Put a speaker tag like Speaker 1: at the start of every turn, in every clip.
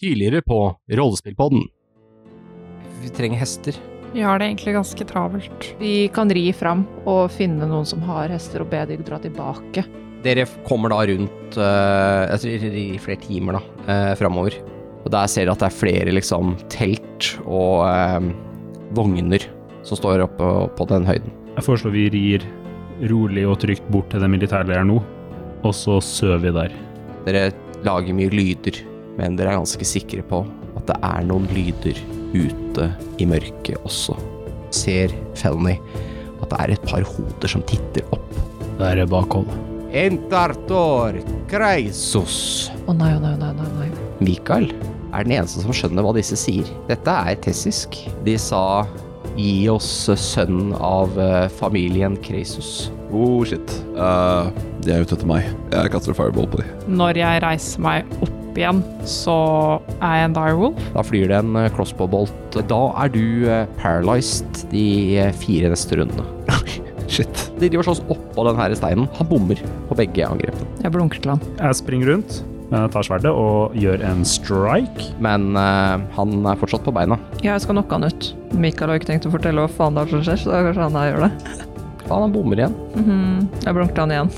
Speaker 1: tidligere på Rollespillpodden.
Speaker 2: Vi trenger hester.
Speaker 3: Vi har det egentlig ganske travelt.
Speaker 4: Vi kan ri fram og finne noen som har hester, og be de dra tilbake.
Speaker 2: Dere f- kommer da rundt eh, Jeg tror i i flere timer da uh, framover. Og der ser dere at det er flere liksom telt og eh, vogner som står oppe på den høyden.
Speaker 5: Jeg foreslår vi rir rolig og trygt bort til den militærleiren nå, og så sover vi der.
Speaker 2: Dere lager mye lyder, men dere er ganske sikre på at det er noen lyder ute i mørket også. Ser Felny at det er et par hoder som titter opp.
Speaker 5: Der er bakhold.
Speaker 2: Entartor kreisos.
Speaker 4: Å nei, å nei, å nei, å nei, å nei.
Speaker 2: Mikael er den eneste som skjønner hva disse sier. Dette er tessisk. De sa gi oss eh, sønnen av eh, familien Kresus.
Speaker 6: Oh, shit. Eh, de er ute etter meg. Jeg kaster fireball på de.
Speaker 3: Når jeg reiser meg opp igjen, så er jeg en direwolf.
Speaker 2: Da flyr det en eh, crossbow-bolt. Da er du eh, paralyzed de eh, fire neste rundene.
Speaker 6: Shit.
Speaker 2: De driver og slåss oppå den her steinen. Han bommer på begge angrepene.
Speaker 4: Jeg blunker til han.
Speaker 5: Jeg springer rundt, eh, tar sverdet og gjør en strike.
Speaker 2: Men eh, han er fortsatt på beina.
Speaker 4: Ja, jeg skal knocke han ut. Mikael har ikke tenkt å fortelle hva faen det er som skjer, så da kanskje han her gjør det.
Speaker 2: Faen, han bommer igjen.
Speaker 4: Mhm. Jeg blunker til han igjen.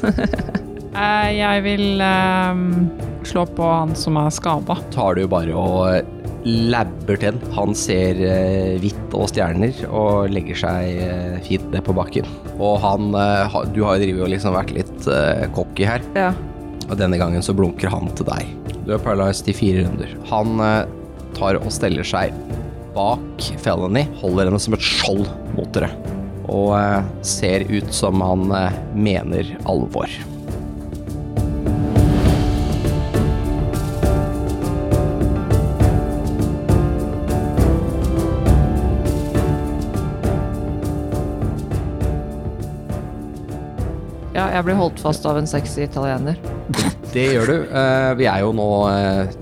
Speaker 3: Eh, Jeg vil ehm, slå på han som er skada.
Speaker 2: Tar du bare og eh, labber til. Han ser eh, hvitt og stjerner og legger seg eh, fint ned på bakken. Og han eh, ha- Du har jo drevet og liksom vært litt eh, cocky her.
Speaker 4: Ja.
Speaker 2: Og denne gangen så blunker han til deg. Du er paralyzed i fire runder. Han eh, tar og steller seg bak Felony, holder henne som et skjold mot dere. Og eh, ser ut som han eh, mener alvor.
Speaker 4: ja, jeg blir holdt fast av en sexy italiener.
Speaker 2: Det gjør du. Eh, vi er jo nå eh,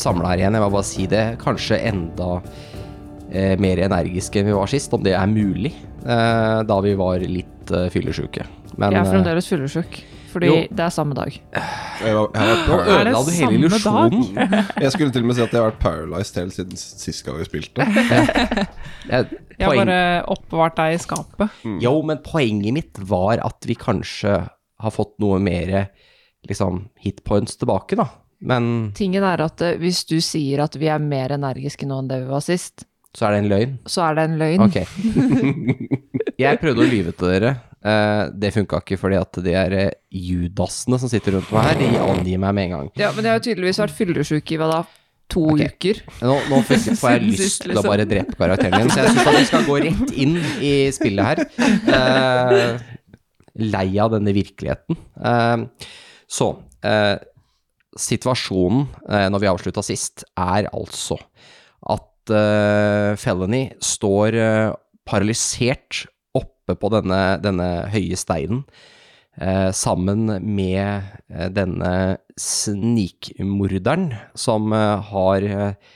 Speaker 2: samla her igjen, jeg må bare si det. Kanskje enda eh, mer energiske enn vi var sist, om det er mulig. eh, da vi var litt eh, fyllesyke. Men
Speaker 4: Jeg er
Speaker 2: eh,
Speaker 4: fremdeles fyllesyk, fordi
Speaker 2: Jo.
Speaker 4: det er samme dag.
Speaker 6: Jeg, var, jeg, var
Speaker 2: eh, Nå
Speaker 6: par-
Speaker 3: Er det
Speaker 2: ødela du hele
Speaker 3: samme dag?
Speaker 2: illusjonen.
Speaker 6: jeg skulle til og med si at jeg har vært paralyzed helt siden sist gang vi spilte.
Speaker 2: Jeg-
Speaker 3: Jeg har
Speaker 2: poeng-
Speaker 3: bare oppbevart deg i skapet.
Speaker 2: Jo, men poenget mitt var at vi kanskje har fått noe mer liksom, hitpoints tilbake, da. Men
Speaker 4: Tingen er at eh, hvis du sier at vi er mer energiske nå enn det vi var sist,
Speaker 2: så er det en løgn.
Speaker 4: så er det en løgn.
Speaker 2: Ok. Jeg prøvde å lyve til dere. Eh, det funka ikke fordi at de er eh, judasene som sitter rundt meg her, de angir meg med en gang.
Speaker 4: Ja, men jeg har jo tydeligvis vært fyllesyk i hva da? To
Speaker 2: Ok.
Speaker 4: uker.
Speaker 2: Nå, nå får jeg- får jeg
Speaker 4: Siden
Speaker 2: lyst
Speaker 4: sist,
Speaker 2: til å
Speaker 4: liksom.
Speaker 2: bare drepe karakteren min, så jeg syns at vi skal gå rett inn i spillet her. Eh, lei av denne virkeligheten. Eh, så eh, situasjonen eh, når vi avslutta sist, er altså at eh, Felony står eh, paralysert oppe på denne, denne høye steinen. Eh, sammen med eh, denne snikmorderen som eh, har eh,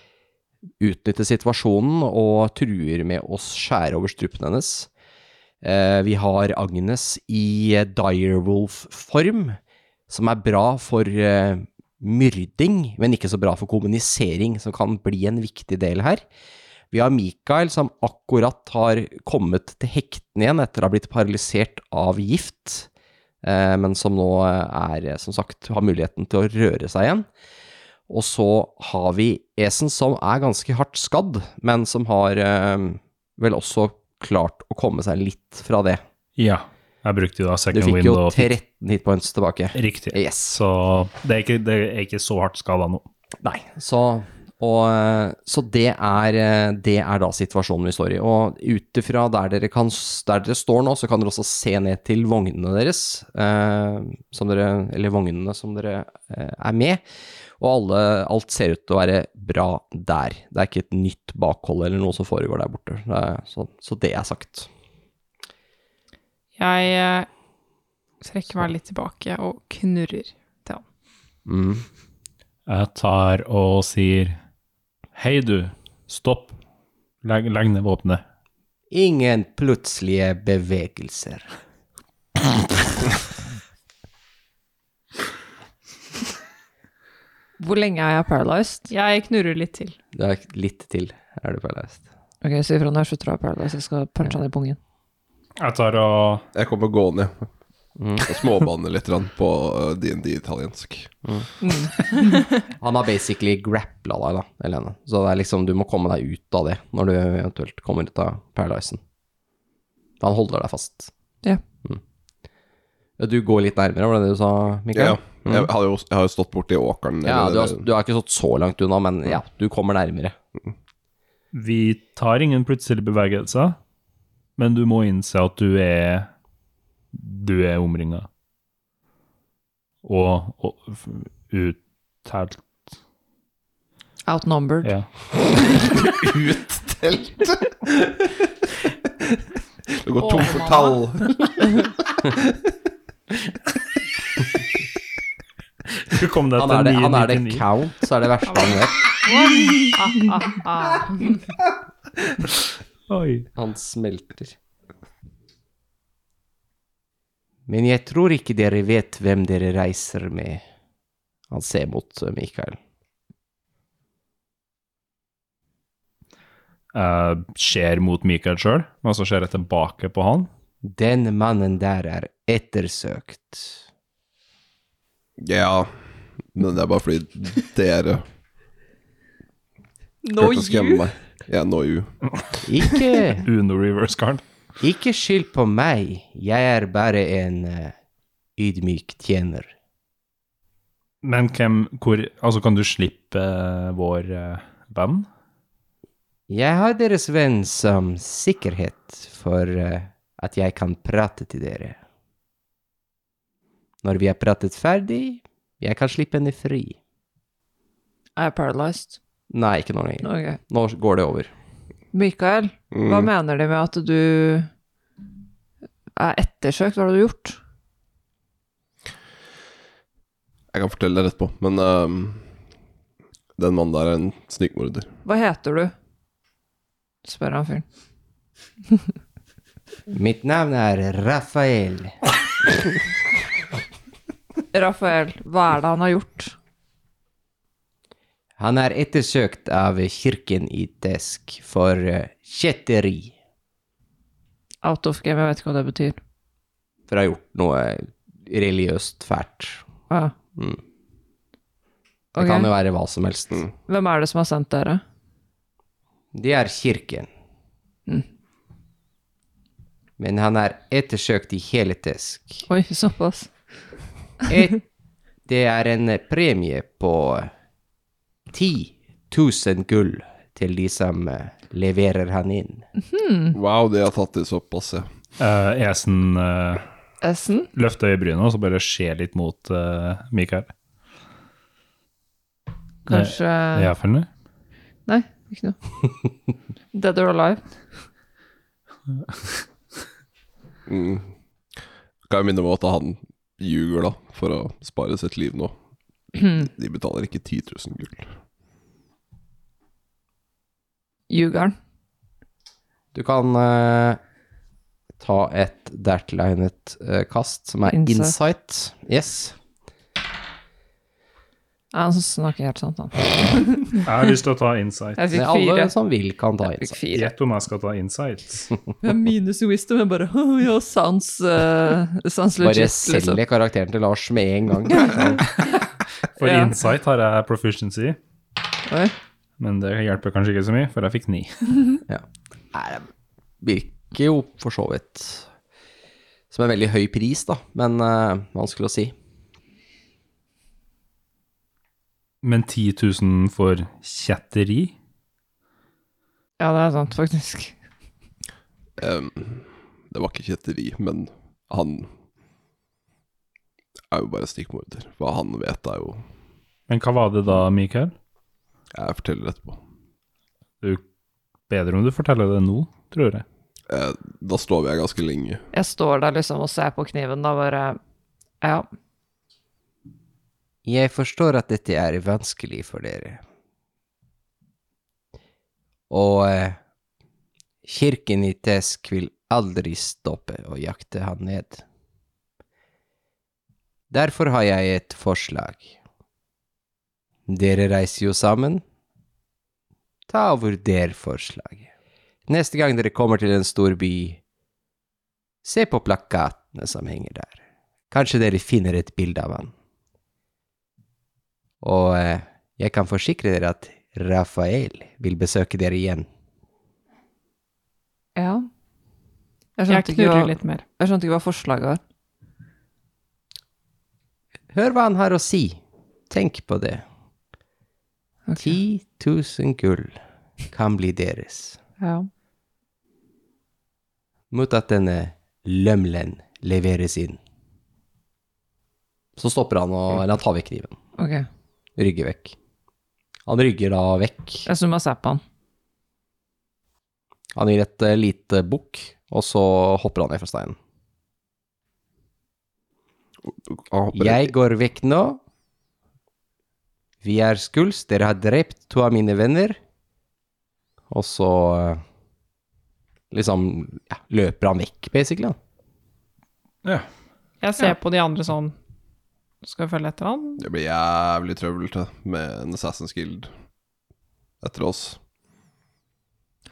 Speaker 2: utnytte situasjonen og truer med å skjære over strupen hennes. Eh, Vi har Agnes i eh, direwolf-form, som er bra for eh, myrding, men ikke så bra for kommunisering, som kan bli en viktig del her. Vi har Mikael, som akkurat har kommet til hektene igjen etter å ha blitt paralysert av gift, eh, men som nå er, eh, som sagt, har muligheten til å røre seg igjen. Og så har vi Esen, som er ganske hardt skadd, men som har eh, vel også klart å komme seg litt fra det.
Speaker 5: Ja. Jeg brukte jo da
Speaker 2: Du
Speaker 5: second
Speaker 2: fikk
Speaker 5: wind
Speaker 2: jo
Speaker 5: og
Speaker 2: 13 hitpoints tilbake.
Speaker 5: Riktig.
Speaker 2: Yes.
Speaker 5: Så det er ikke, det er ikke så hardt skada nå.
Speaker 2: Nei, så, og, eh, så det, er, eh, det er da situasjonen vi står i. Og ut ifra der, dere kan s- der dere står nå, så kan dere også se ned til vognene deres, eh, som dere, eller vognene som dere eh, er med. Og alle, alt ser ut til å være bra der. Det er ikke et nytt bakhold eller noe som foregår der borte. Det er, så, så det er sagt.
Speaker 3: Jeg eh, trekker meg litt tilbake og knurrer til han.
Speaker 2: Mm.
Speaker 5: Jeg tar og sier Hei, du. Stopp. Legg, legg ned våpenet.
Speaker 2: Ingen plutselige bevegelser.
Speaker 4: Hvor lenge er jeg paralyzed?
Speaker 3: Jeg knurrer litt til.
Speaker 2: Det er litt til, er du paralyzed.
Speaker 4: Ok, Si ifra når jeg slutter å være paralyzed. Jeg skal punche han i pungen.
Speaker 5: Jeg tar og
Speaker 6: Jeg kommer gående
Speaker 2: Mm.
Speaker 6: og småbanner litt grann på eh, D&D italiensk.
Speaker 2: Han har basically grappla deg, da, Helene. Så det er liksom, du må komme deg ut av det når du eventuelt kommer ut av paralysen. Han holder deg fast.
Speaker 4: Ja.
Speaker 2: Mm. Du går litt nærmere, var det det du sa,
Speaker 6: Ja,
Speaker 2: Mikael?
Speaker 6: jeg, har jo, jeg har jo stått borti åkeren.
Speaker 2: Mm. Ja,
Speaker 6: eller-
Speaker 2: du, har, du har ikke stått så langt unna, men ja, du kommer nærmere.
Speaker 5: Vi tar ingen plutselige bevegelser, men du må innse at du er Du er omringa. Og, og f- uttalt
Speaker 4: Outnumbered.
Speaker 5: Ja.
Speaker 6: uttelt. Du går tom for
Speaker 3: Åh,
Speaker 6: tall.
Speaker 5: Du kom deg
Speaker 2: Han er det,
Speaker 5: til
Speaker 2: han er det
Speaker 5: 999.
Speaker 2: count, så er det verste han vet.
Speaker 3: Ah, ah, ah.
Speaker 5: Oi.
Speaker 2: Han smelter. Men jeg tror ikke dere vet hvem dere reiser med. Han ser mot eh, Mikael.
Speaker 5: Jeg ser mot Mikael sjøl, men så ser jeg tilbake på han.
Speaker 2: Den mannen der er ettersøkt.
Speaker 6: Ja, men det er bare fordi dere
Speaker 3: No
Speaker 6: klarte å
Speaker 3: you.
Speaker 6: skremme meg. Ja, no you.
Speaker 2: Ikke,
Speaker 5: Uno reverse card.
Speaker 2: ikke skyld på meg, jeg er bare en eh, ydmyk tjener.
Speaker 5: Men hvem hvor, Altså, kan du slippe eh, vår eh, venn?
Speaker 2: Jeg har deres venn som sikkerhet for eh, at jeg kan prate til dere. Når vi har pratet ferdig, jeg kan slippe henne fri.
Speaker 4: Er jeg paralyzed?
Speaker 2: Nei, ikke nå lenger.
Speaker 4: Ok.
Speaker 2: Nå går det over.
Speaker 4: Mikael,
Speaker 6: Mm.
Speaker 4: hva mener de med at du er ettersøkt? Hva har du gjort?
Speaker 6: Jeg kan fortelle deg rett på, men ehm, den mannen der er en snikmorder.
Speaker 4: Hva heter du? Spør han fyren.
Speaker 2: Mitt navn er Rafael.
Speaker 4: Rafael, hva er det han har gjort?
Speaker 2: Han er ettersøkt av kirken i Tesk for eh, kjetteri.
Speaker 4: Out of game, jeg vet ikke hva det betyr.
Speaker 2: for å ha gjort noe religiøst fælt.
Speaker 4: Ah.
Speaker 2: Mm. Det
Speaker 4: Ok,
Speaker 2: kan jo være hva som helst.
Speaker 4: Hvem er det som har sendt dere?
Speaker 2: Det er kirken.
Speaker 4: Mm.
Speaker 2: Men han er ettersøkt i hele Tesk.
Speaker 4: Oi, såpass.
Speaker 2: Et, det er en premie på 10 000 gull til de som eh, leverer han inn.
Speaker 6: Wow, de har tatt det såpass, ja.
Speaker 5: Uh, Esen eh,
Speaker 4: Essen?
Speaker 5: løfter øyebryna og så bare ser litt mot eh, Mikael.
Speaker 4: Kanskje
Speaker 5: Er jeg ferdig?
Speaker 4: Nei, ikke noe. Dead or alive?
Speaker 6: Mm. Kan jeg minne om at han ljuger, da, for å spare sitt liv nå. De betaler ikke 10 000 gull.
Speaker 4: Ljugeren.
Speaker 2: Du kan eh, ta et dertil egnet eh, kast, som er
Speaker 4: Insight.
Speaker 2: insight. Yes.
Speaker 4: Nei, han snakker helt sant, han.
Speaker 5: Jeg har lyst til å ta insight.
Speaker 4: Jeg
Speaker 2: Men
Speaker 4: fikk
Speaker 2: alle
Speaker 4: fire.
Speaker 2: som vil, kan ta
Speaker 4: Jeg
Speaker 2: insight.
Speaker 4: fikk fire.
Speaker 5: Gjett om jeg skal ta insight.
Speaker 4: Jeg har minus wisdom, jeg bare Ja, sans uh, Sans
Speaker 2: Bare
Speaker 4: legit, liksom.
Speaker 2: selger karakteren til Lars med en gang.
Speaker 5: For
Speaker 4: Ja.
Speaker 5: insight har jeg proficiency,
Speaker 4: Oi.
Speaker 5: men det hjelper kanskje ikke så mye, for jeg fikk ni.
Speaker 2: Nei, det virker jo for så vidt som en veldig høy pris, da, men eh, vanskelig å si.
Speaker 5: Men 10 000 for kjetteri?
Speaker 4: Ja, det er sant, faktisk.
Speaker 6: Ehm, det var ikke kjetteri, men han er jo bare snikmorder. Hva han vet, er jo
Speaker 5: Men hva var det da, Mikael?
Speaker 6: Jeg forteller etterpå.
Speaker 5: Du, bedre om du forteller det nå, tror jeg.
Speaker 6: Eh, da slår vi her ganske lenge.
Speaker 4: Jeg står der liksom og ser på kniven, da bare Ja.
Speaker 2: Jeg forstår at dette er vanskelig for dere. Og eh, kirken i Tesk vil aldri stoppe å jakte han ned. Derfor har jeg et forslag. Dere reiser jo sammen. Ta og vurder forslaget. Neste gang dere kommer til en stor by, se på plakatene som henger der. Kanskje dere finner et bilde av han. Og eh, jeg kan forsikre dere at Rafael vil besøke dere igjen.
Speaker 4: Ja. Jeg
Speaker 3: Jeg
Speaker 4: skjønte, ikke
Speaker 3: knurrer
Speaker 4: hva,
Speaker 3: litt mer.
Speaker 4: jeg skjønte ikke hva forslaget var.
Speaker 2: Hør hva han har å si. Tenk på det.
Speaker 4: Ok.
Speaker 2: 10 000 gull kan bli deres.
Speaker 4: Ja.
Speaker 2: mot at denne lømlen leveres inn. Så stopper han og eller han tar vekk kniven.
Speaker 4: Ok.
Speaker 2: Rygger vekk. Han rygger da vekk.
Speaker 4: Jeg zoomer seg på han.
Speaker 2: Han gir et eh, lite bukk, og så hopper han ned fra steinen.
Speaker 6: Han hopper
Speaker 2: Jeg går vekk nå. Vi er skuls. Dere har drept to av mine venner. Og så eh, liksom ja, løper han vekk, basically. da.
Speaker 3: Jeg ser på de andre sånn Skal vi følge etter han?
Speaker 6: Det blir jævlig trøblete med en Assassin's Guild etter oss.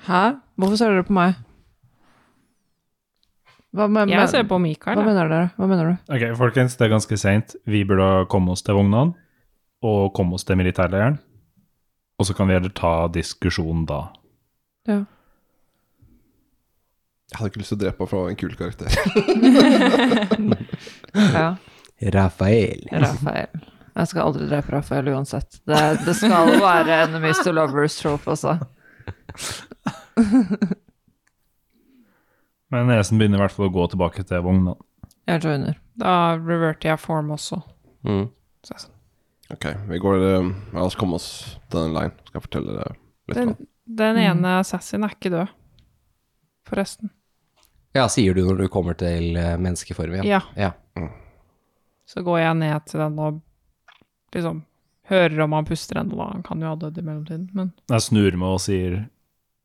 Speaker 4: Hæ? Hvorfor ser dere på meg? Hva, men,
Speaker 3: Jeg ser
Speaker 4: men,
Speaker 3: på
Speaker 4: hva
Speaker 3: Mikael. jeg.
Speaker 4: mener dere? Hva mener du?
Speaker 5: Ok, folkens, det er ganske seint. Vi burde komme oss til vognene og komme oss til militærleiren. Og så kan vi heller ta diskusjonen da.
Speaker 4: Ja.
Speaker 6: Jeg hadde ikke lyst til å drepe ham for han var en kul karakter.
Speaker 4: ja.
Speaker 2: Rafael.
Speaker 4: Rafael. Jeg skal aldri drepe Rafael uansett. Det, det skal være enemies to lovers trope også.
Speaker 5: Men Esen begynner i hvert fall å gå tilbake til vognene.
Speaker 4: Jeg joiner.
Speaker 3: Da reverter jeg form også.
Speaker 2: Mm.
Speaker 3: Så jeg er sånn,
Speaker 6: ok, vi går eh, La oss komme oss til den leien. Skal jeg fortelle deg litt om
Speaker 3: Den, den
Speaker 4: Mm.
Speaker 3: ene assassin er ikke død, forresten.
Speaker 2: Ja, sier du når du kommer til eh, menneskeform igjen.
Speaker 3: Ja.
Speaker 2: Ja.
Speaker 3: Så går jeg ned til den og liksom hører om han puster ennå, da. Han kan jo ha dødd i mellomtiden, men
Speaker 5: Jeg snur meg og sier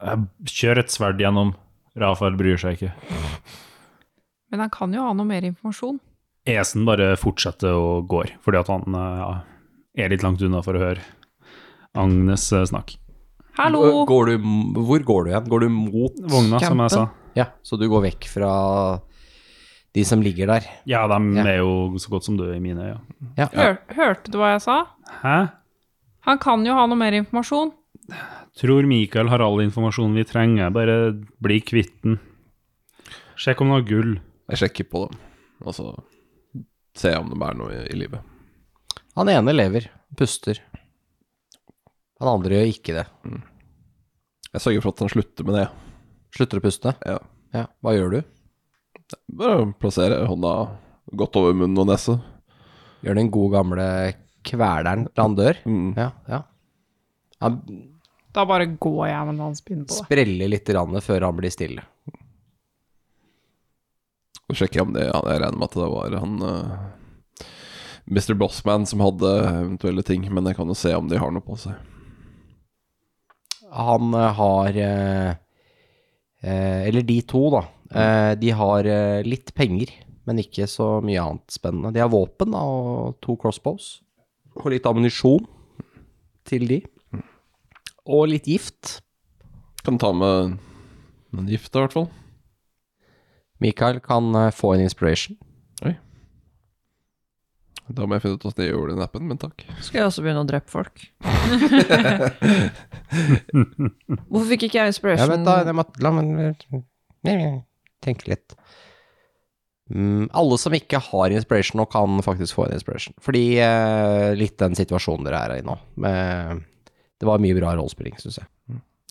Speaker 5: «Jeg Kjør et sverd gjennom. Rafael bryr seg ikke.
Speaker 3: Men han kan jo ha noe mer informasjon.
Speaker 5: Esen bare fortsetter og går, fordi at han eh, er litt langt unna for å høre Agnes eh, snakk.
Speaker 3: Hallo!
Speaker 2: Går du, hvor går du hen? Går du mot
Speaker 5: Vogna, som jeg sa.
Speaker 2: Ja, så du går vekk fra de som ligger der.
Speaker 5: Ja, de
Speaker 2: Ja.
Speaker 5: er jo så godt som døde i mine øyne.
Speaker 3: Hør, hørte du hva jeg sa?
Speaker 5: Hæ?
Speaker 3: Han kan jo ha noe mer informasjon.
Speaker 5: Tror Mikael har all informasjonen vi trenger. Bare bli kvitt den. Sjekk om den har gull.
Speaker 6: Jeg sjekker på dem, og så ser jeg om de er noe i, i livet.
Speaker 2: Han ene lever, puster. Han andre gjør ikke det.
Speaker 6: Jeg sørger for at han slutter med det.
Speaker 2: Slutter å puste.
Speaker 6: Ja.
Speaker 2: Ja, hva gjør du?
Speaker 6: Bare plassere hånda godt over munnen og nese.
Speaker 2: Gjør den gode gamle kveleren til han dør?
Speaker 6: Mm.
Speaker 2: Ja, ja. Han
Speaker 3: Da bare går jeg med hans pinne på det.
Speaker 2: spreller litt rann før han blir stille.
Speaker 6: Så sjekker jeg om det ja, Jeg regner med at det var han eh, Mr. Bossman som hadde eventuelle ting, men jeg kan jo se om de har noe på seg.
Speaker 2: Han eh, har eh, eh, Eller de to, da. Eh, de har eh, litt penger, men ikke så mye annet spennende. De har våpen da, og to crossbows. Og litt ammunisjon til de. Og litt gift.
Speaker 6: Kan ta med en gift, i hvert fall.
Speaker 2: Mikael kan eh, få en inspiration.
Speaker 6: Da må jeg finne ut hvordan jeg gjør den appen, men takk.
Speaker 4: Skal jeg også begynne å drepe folk? Hvorfor fikk ikke jeg
Speaker 2: Ja,
Speaker 4: inspiration?
Speaker 2: men da, jeg må, la meg tenke litt. Mm, alle som ikke har inspiration nå, kan faktisk få en inspiration. Fordi eh, litt den situasjonen dere er i nå. Med, det var mye bra rollespilling, syns jeg.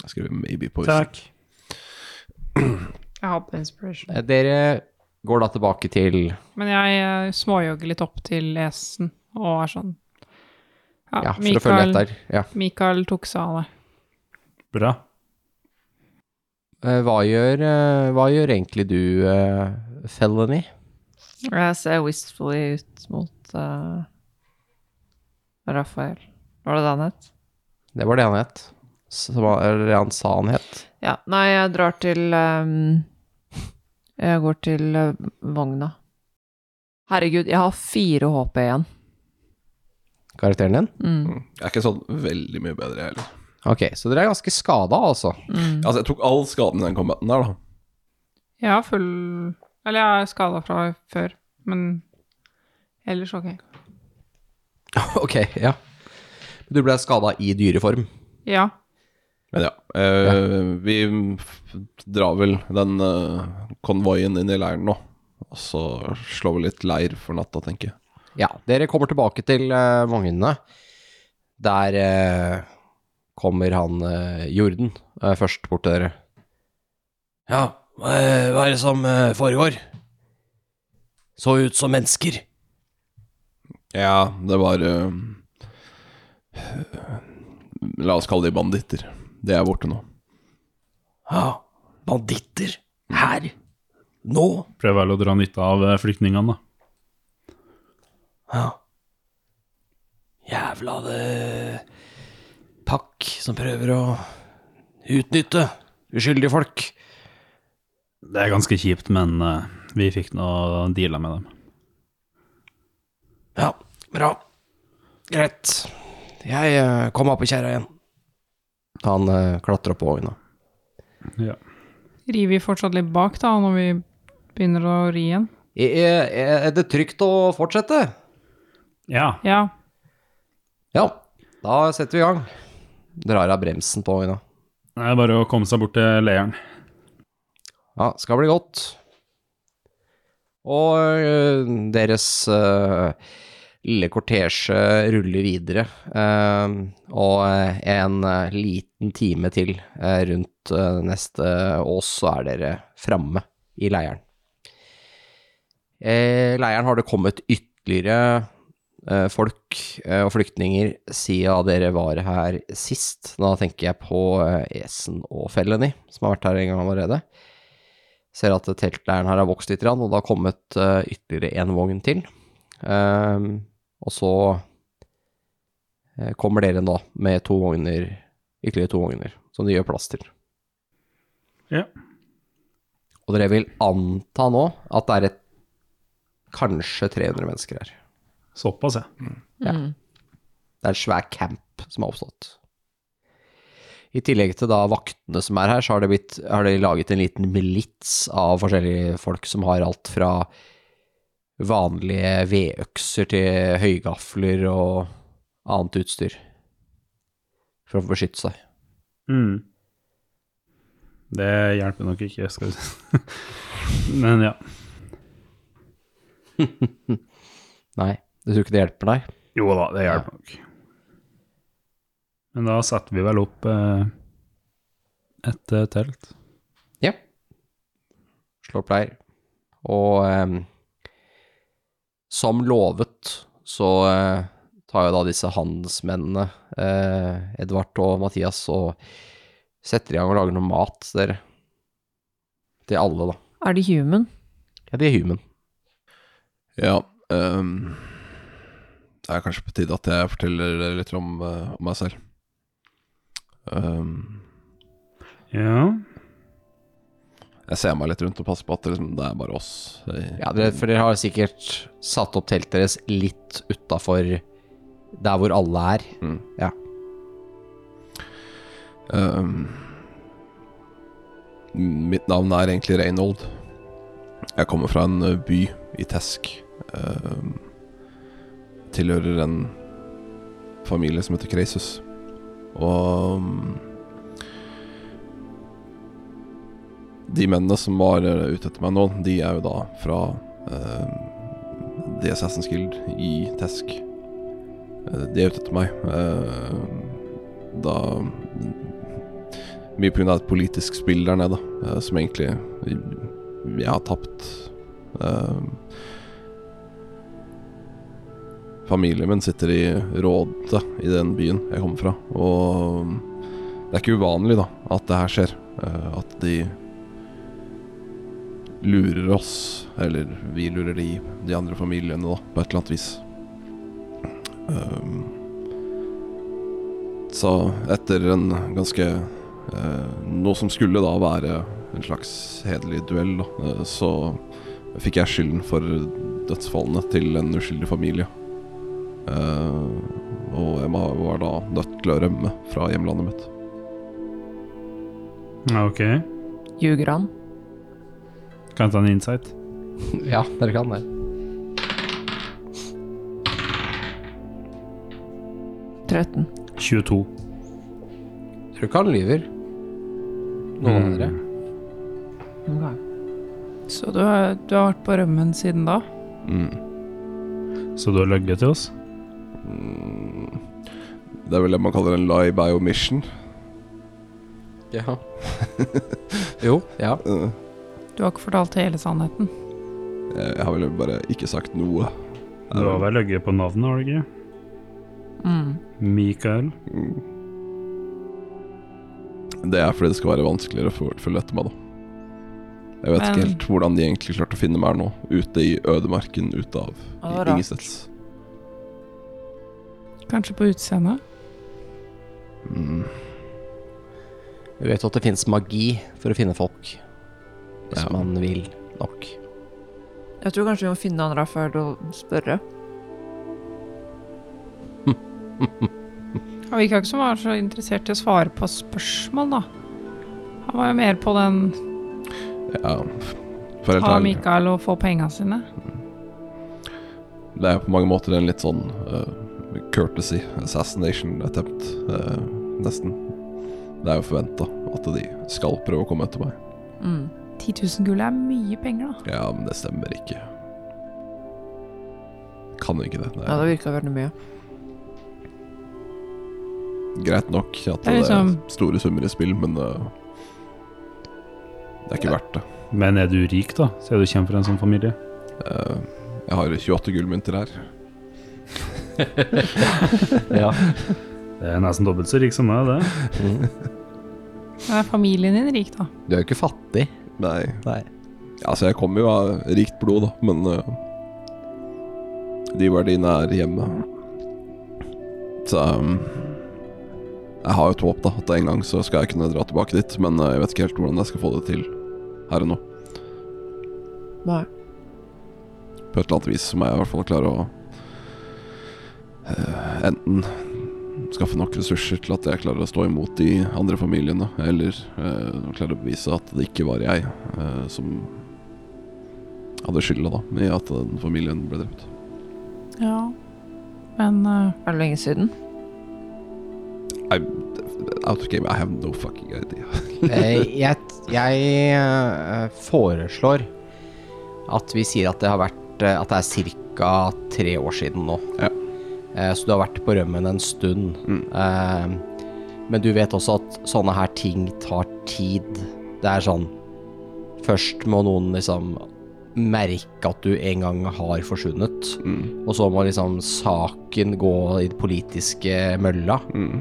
Speaker 6: Jeg skriver maybe på
Speaker 5: Takk.
Speaker 3: Jeg hadde inspiration.
Speaker 2: Eh, Dere går da tilbake til
Speaker 3: Men jeg eh, småjogger litt opp til Esen og er sånn
Speaker 2: Ja, for å følge etter. Ja.
Speaker 3: Mikael tok seg av det.
Speaker 5: Bra.
Speaker 2: Eh, Hva gjør, eh, hva gjør egentlig du, eh, Felony?
Speaker 4: Jeg ser wistfully ut mot eh, Rafael. Var det det han het?
Speaker 2: Det var det han het. Som han- Eller det han sa han het.
Speaker 4: Ja. Nei, jeg drar til ehm, Jeg går til eh, vogna. Herregud, jeg har fire HP igjen.
Speaker 2: karakteren din?
Speaker 6: Mm. Jeg er ikke sånn veldig mye bedre, jeg heller.
Speaker 2: Ok, så dere er ganske skada, altså.
Speaker 6: Altså, jeg tok all skaden i den combaten der, da.
Speaker 3: Jeg har full Eller jeg er skada fra før, men ellers ok.
Speaker 2: ok, ja. Du ble skada i dyreform.
Speaker 3: Ja.
Speaker 6: Men ja, eh, vi f- drar vel den eh, konvoien inn i leiren nå. Og så slår vi litt leir for natta, tenker jeg.
Speaker 2: Ja, dere kommer tilbake til uh, vognene. Der eh, kommer han eh, Jorden eh, først bort til dere. Ja, hva er- hva er det som eh, foregår? Så ut som mennesker.
Speaker 6: Ja, det var eh, La oss kalle de banditter. De er borte nå.
Speaker 2: Ja, banditter. Her. Nå.
Speaker 5: Prøv vel å dra nytte av eh, flyktningene, da.
Speaker 2: Ja. Jævla det pakk som prøver å utnytte uskyldige folk.
Speaker 5: Det er ganske kjipt, men eh, vi fikk nå deala med dem.
Speaker 2: Ja, bra. Greit. Jeg eh, kommer opp på kjerra igjen. Han eh, klatrer opp på vogna.
Speaker 5: Ja.
Speaker 3: River vi fortsatt litt bak, da, når vi begynner å ri igjen?
Speaker 2: Er, er det trygt å fortsette?
Speaker 5: ja.
Speaker 3: Ja.
Speaker 2: Ja. Da setter vi i gang. Drar av bremsen på vogna.
Speaker 5: Det er bare å komme seg bort til leiren.
Speaker 2: Ja, skal bli godt. Og øh, deres øh, lille kortesje ruller videre. ehm, og øh, en øh, liten time til øh, rundt øh, neste ås, så er dere framme i leiren. Eh, leiren har det kommet ytterligere eh, folk eh, og flyktninger siden dere var her sist. Da tenker jeg på eh, Esen og Felony, som har vært her en gang allerede ser at teltleiren her har vokst litt, og det har kommet eh, ytterligere en vogn til. Ehm, og så eh, kommer dere nå med to vogner, ytterligere to vogner, som de gjør plass til.
Speaker 5: Ja.
Speaker 2: Og dere vil anta nå at det er et kanskje 300 mennesker her.
Speaker 5: Såpass, ja.
Speaker 4: Mm.
Speaker 2: Det er en svær camp som har oppstått. I tillegg til da vaktene som er her, så har, det blitt, har de laget en liten milits av forskjellige folk som har alt fra vanlige vedøkser til høygafler og annet utstyr. For å beskytte seg.
Speaker 5: Mm. Det hjelper nok ikke, skal vi si. Men ja.
Speaker 2: Nei, du tror ikke det hjelper deg?
Speaker 5: Jo da, det hjelper nok. Men da setter vi vel opp eh, et eh, telt.
Speaker 2: Ja. Slår opp leir. Og ehm, som lovet, så eh, tar jo da disse handelsmennene, eh, Edvard og Mathias, og setter i gang og lager noe mat til dere. Til alle, da.
Speaker 4: Er de human?
Speaker 2: Ja, de er human.
Speaker 6: Ja ehm, Det er kanskje på tide at jeg forteller dere litt om, eh, om meg selv. Ehm,
Speaker 5: Ja.
Speaker 6: jeg ser meg litt rundt og passer på at det, liksom, det er bare oss. Jeg-
Speaker 2: Ja, dere, For dere har sikkert satt opp teltet deres litt utafor der hvor alle er.
Speaker 6: Ehm, mitt navn er egentlig Reynold. Jeg kommer fra en ø, by i Tesk. Ehm, tilhører en familie som heter Kreisus. Og mm, De mennene som var ø, ute etter meg nå, de er jo da fra ehm, The Assassin's Guild i Tesk. Eh, De er ute etter meg. Ehm, da Mye pga. et politisk spill der nede, eh, som egentlig eh, jeg har tapt. Eh, Familien min sitter i rådet i den byen jeg kommer fra, og det er ikke uvanlig da at det her skjer. eh, At de lurer oss, eller vi lurer de, de andre familiene da, på et eller annet vis. Eh, så etter en ganske eh, Noe som skulle da være en slags hederlig duell, da, eh, så fikk jeg skylden for dødsfallene til en uskyldig familie. Eh, og jeg var- var da nødt til å rømme fra hjemlandet mitt.
Speaker 5: Ja, Ok.
Speaker 4: Ljuger han?
Speaker 5: Kan jeg ta en insight?
Speaker 2: Mm. Ja, dere kan det.
Speaker 4: 13.
Speaker 5: 22.
Speaker 2: Tror ikke han lyver. Noen
Speaker 5: Mm.
Speaker 2: andre.
Speaker 3: Så du har, du har vært på rømmen siden da?
Speaker 6: Mm.
Speaker 5: Så du har løyet til oss?
Speaker 6: Det er vel det man kaller en lie by omission.
Speaker 2: Ja. jo, ja.
Speaker 6: Eh,
Speaker 3: Du har ikke fortalt hele sannheten?
Speaker 6: Jeg jeg har vel bare ikke sagt noe.
Speaker 5: Du har vel løyet på navnet, har du ikke?
Speaker 4: Mm.
Speaker 5: Mikael.
Speaker 6: Det er fordi det skal være vanskeligere for å følge etter meg, da. Jeg vet ikke
Speaker 3: Men-
Speaker 6: helt hvordan de egentlig klarte å finne meg her nå, ute i ødemarken ute av
Speaker 4: Ja, det var rart.
Speaker 6: Ingesteds.
Speaker 3: Kanskje på utseendet?
Speaker 6: Mm.
Speaker 2: Du vet jo at det finnes magi for å finne folk. Hvis
Speaker 6: Ja.
Speaker 2: man vil nok.
Speaker 4: Jeg tror kanskje vi må finne han Rafael og spørre.
Speaker 3: Han virka ikke som han var så interessert i å svare på spørsmål, da. Han var jo mer på den
Speaker 6: Ja, for helt
Speaker 3: ta
Speaker 6: ærlig.
Speaker 3: Mikael og få penga sine.
Speaker 6: Det er på mange måter en litt sånn eh, courtesy assassination attempt, eh, nesten. Det er jo forventa at de skal prøve å komme etter meg.
Speaker 4: Mm.
Speaker 3: 10 000 gull er mye penger, da.
Speaker 6: Ja, men det stemmer ikke. Kan ikke det. Det
Speaker 4: Ja,
Speaker 6: er
Speaker 4: det virka veldig mye.
Speaker 6: greit nok at
Speaker 3: Det er
Speaker 6: det er,
Speaker 3: liksom-
Speaker 6: store summer i spill, men eh, det er ikke verdt det.
Speaker 5: Men er du rik, da? Siden du kommer fra en sånn familie?
Speaker 6: Eh, jeg har 28 gullmynter her.
Speaker 2: Ja.
Speaker 5: Det er nesten dobbelt så rik som meg, det.
Speaker 3: Men er familien din rik, da?
Speaker 2: Du er jo ikke fattig.
Speaker 6: Nei,
Speaker 2: Nei.
Speaker 6: altså jeg kommer jo av rikt blod, da, men eh, de verdiene er hjemme. Så eh, jeg har jo et håp, da, at en gang så skal jeg kunne dra tilbake dit, men eh, jeg vet ikke helt hvordan jeg skal få det til her og nå.
Speaker 4: Nei.
Speaker 6: På et eller annet vis må jeg i hvert fall klare å eh, enten skaffe nok ressurser til at jeg klarer å stå imot de andre familiene, eller eh, klare å bevise at det ikke var jeg eh, som hadde skylda da, i at den familien ble drept.
Speaker 3: Ja. Men eh,
Speaker 4: Er det lenge siden?
Speaker 6: Out of game, I have no fucking idea.
Speaker 2: Eh, jeg, jeg eh, foreslår at vi sier at det har vært eh, At det er ca. tre år siden nå.
Speaker 6: Ja. Mm.
Speaker 2: Eh, Så du har vært på rømmen en stund. Eh, Men du vet også at sånne her ting tar tid. Det er sånn Først må noen liksom merke at du en gang har forsvunnet.
Speaker 6: Mm.
Speaker 2: Og så må liksom saken gå i den politiske mølla.
Speaker 6: Mm.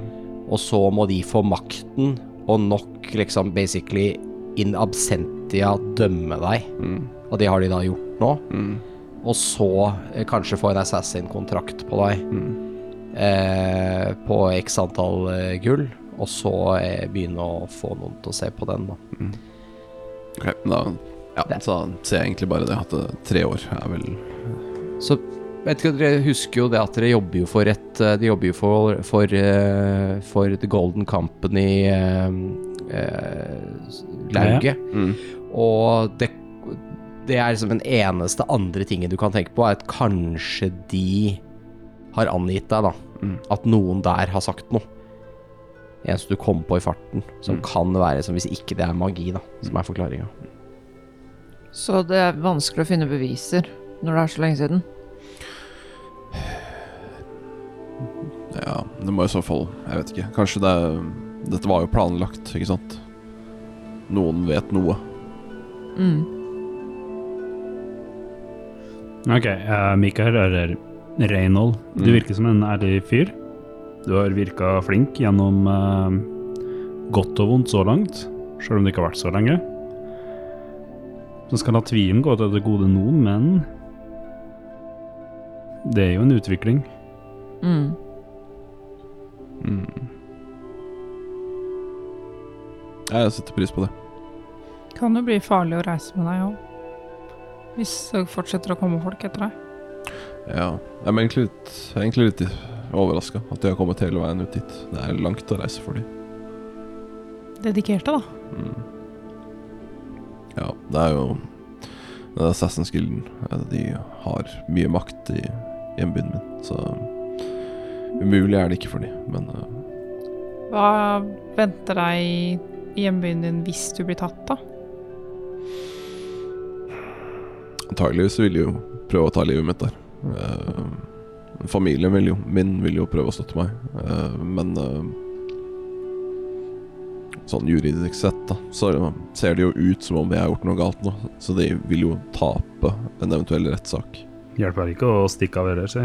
Speaker 2: Og så må de få makten og nok liksom basically in absentia dømme deg.
Speaker 6: Mm.
Speaker 2: Og det har de da gjort nå.
Speaker 6: Mm.
Speaker 2: Og så eh, kanskje få en assassin-kontrakt på deg
Speaker 6: Mm.
Speaker 2: eh, på x antall eh, gull. Og så eh, begynne å få noen til å se på den, da.
Speaker 6: Ok, da ja, så ser jeg egentlig bare det at eh, tre år er vel
Speaker 2: Så vet ikke, dere husker jo det at dere jobber jo for et eh, De jobber jo for for, eh, for The Golden Company eh, eh, lauget.
Speaker 6: Mm.
Speaker 2: Og det, det er liksom den eneste andre tingen du kan tenke på, er at kanskje de har angitt deg, da.
Speaker 6: Mm.
Speaker 2: At noen der har sagt noe. Det eneste du kom på i farten, som
Speaker 6: Mm.
Speaker 2: kan være som hvis ikke det er magi, da, som er forklaringa.
Speaker 4: Så det er vanskelig å finne beviser når det er så lenge siden.
Speaker 6: Ja, det må i så fall Jeg vet ikke. Kanskje det Dette var jo planlagt, ikke sant? Noen vet noe.
Speaker 4: Mm.
Speaker 5: Ok, eh, Mikael, eller Reynold, du
Speaker 6: Mm.
Speaker 5: virker som en ærlig fyr. Du har virka flink gjennom eh, godt og vondt så langt, sjøl om det ikke har vært så lenge. Så skal la tvilen gå til det gode nå, men det er jo en utvikling.
Speaker 4: Mm.
Speaker 6: Ja, Jeg setter pris på det.
Speaker 3: kan jo bli farlig å reise med deg òg. Hvis det fortsetter å komme folk etter deg.
Speaker 6: Ja. Jeg er egentlig litt, jeg er egentlig litt overraska at de har kommet hele veien ut dit. Det er langt å reise for dem.
Speaker 3: Dedikerte, da.
Speaker 6: Mm. Ja, det er jo det er Assassin's Guilden. eh, De har mye makt i hjembyen min, så umulig er det ikke for dem. Men eh,
Speaker 3: Hva venter deg i hjembyen din hvis du blir tatt, da?
Speaker 6: antageligvis vil de jo prøve å ta livet mitt der. Eh, familien vil jo, min vil jo prøve å støtte meg, eh, men eh, Sånn juridisk sett, da, så ser det jo ut som om jeg har gjort noe galt nå. Så de vil jo tape en eventuell rettssak.
Speaker 5: Hjelper ikke å stikke av heller, si.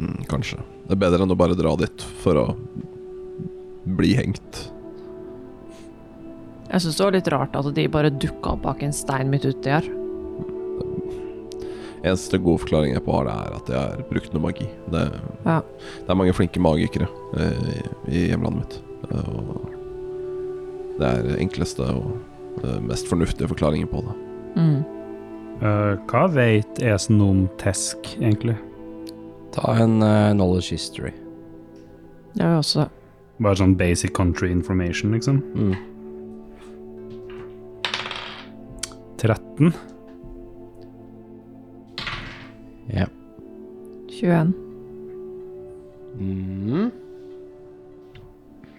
Speaker 6: Mm, kanskje. Det er bedre enn å bare dra dit for å bli hengt.
Speaker 4: Jeg syns det var litt rart at de bare dukka opp bak en stein midt uti her.
Speaker 6: Eneste gode forklaring jeg på har, det er at jeg har brukt noe magi. Det,
Speaker 4: Ja.
Speaker 6: det er mange flinke magikere eh, i, i hjemlandet mitt. Eh, og det er den enkleste og eh, mest fornuftige forklaringen på det.
Speaker 4: Mm.
Speaker 5: Eh, hva vet Esen om Tesk, egentlig?
Speaker 2: Ta en eh, knowledge history.
Speaker 4: Jeg vil også
Speaker 5: Bare sånn basic country information, liksom.
Speaker 2: Mm.
Speaker 5: 13.
Speaker 4: 21.
Speaker 2: Mm.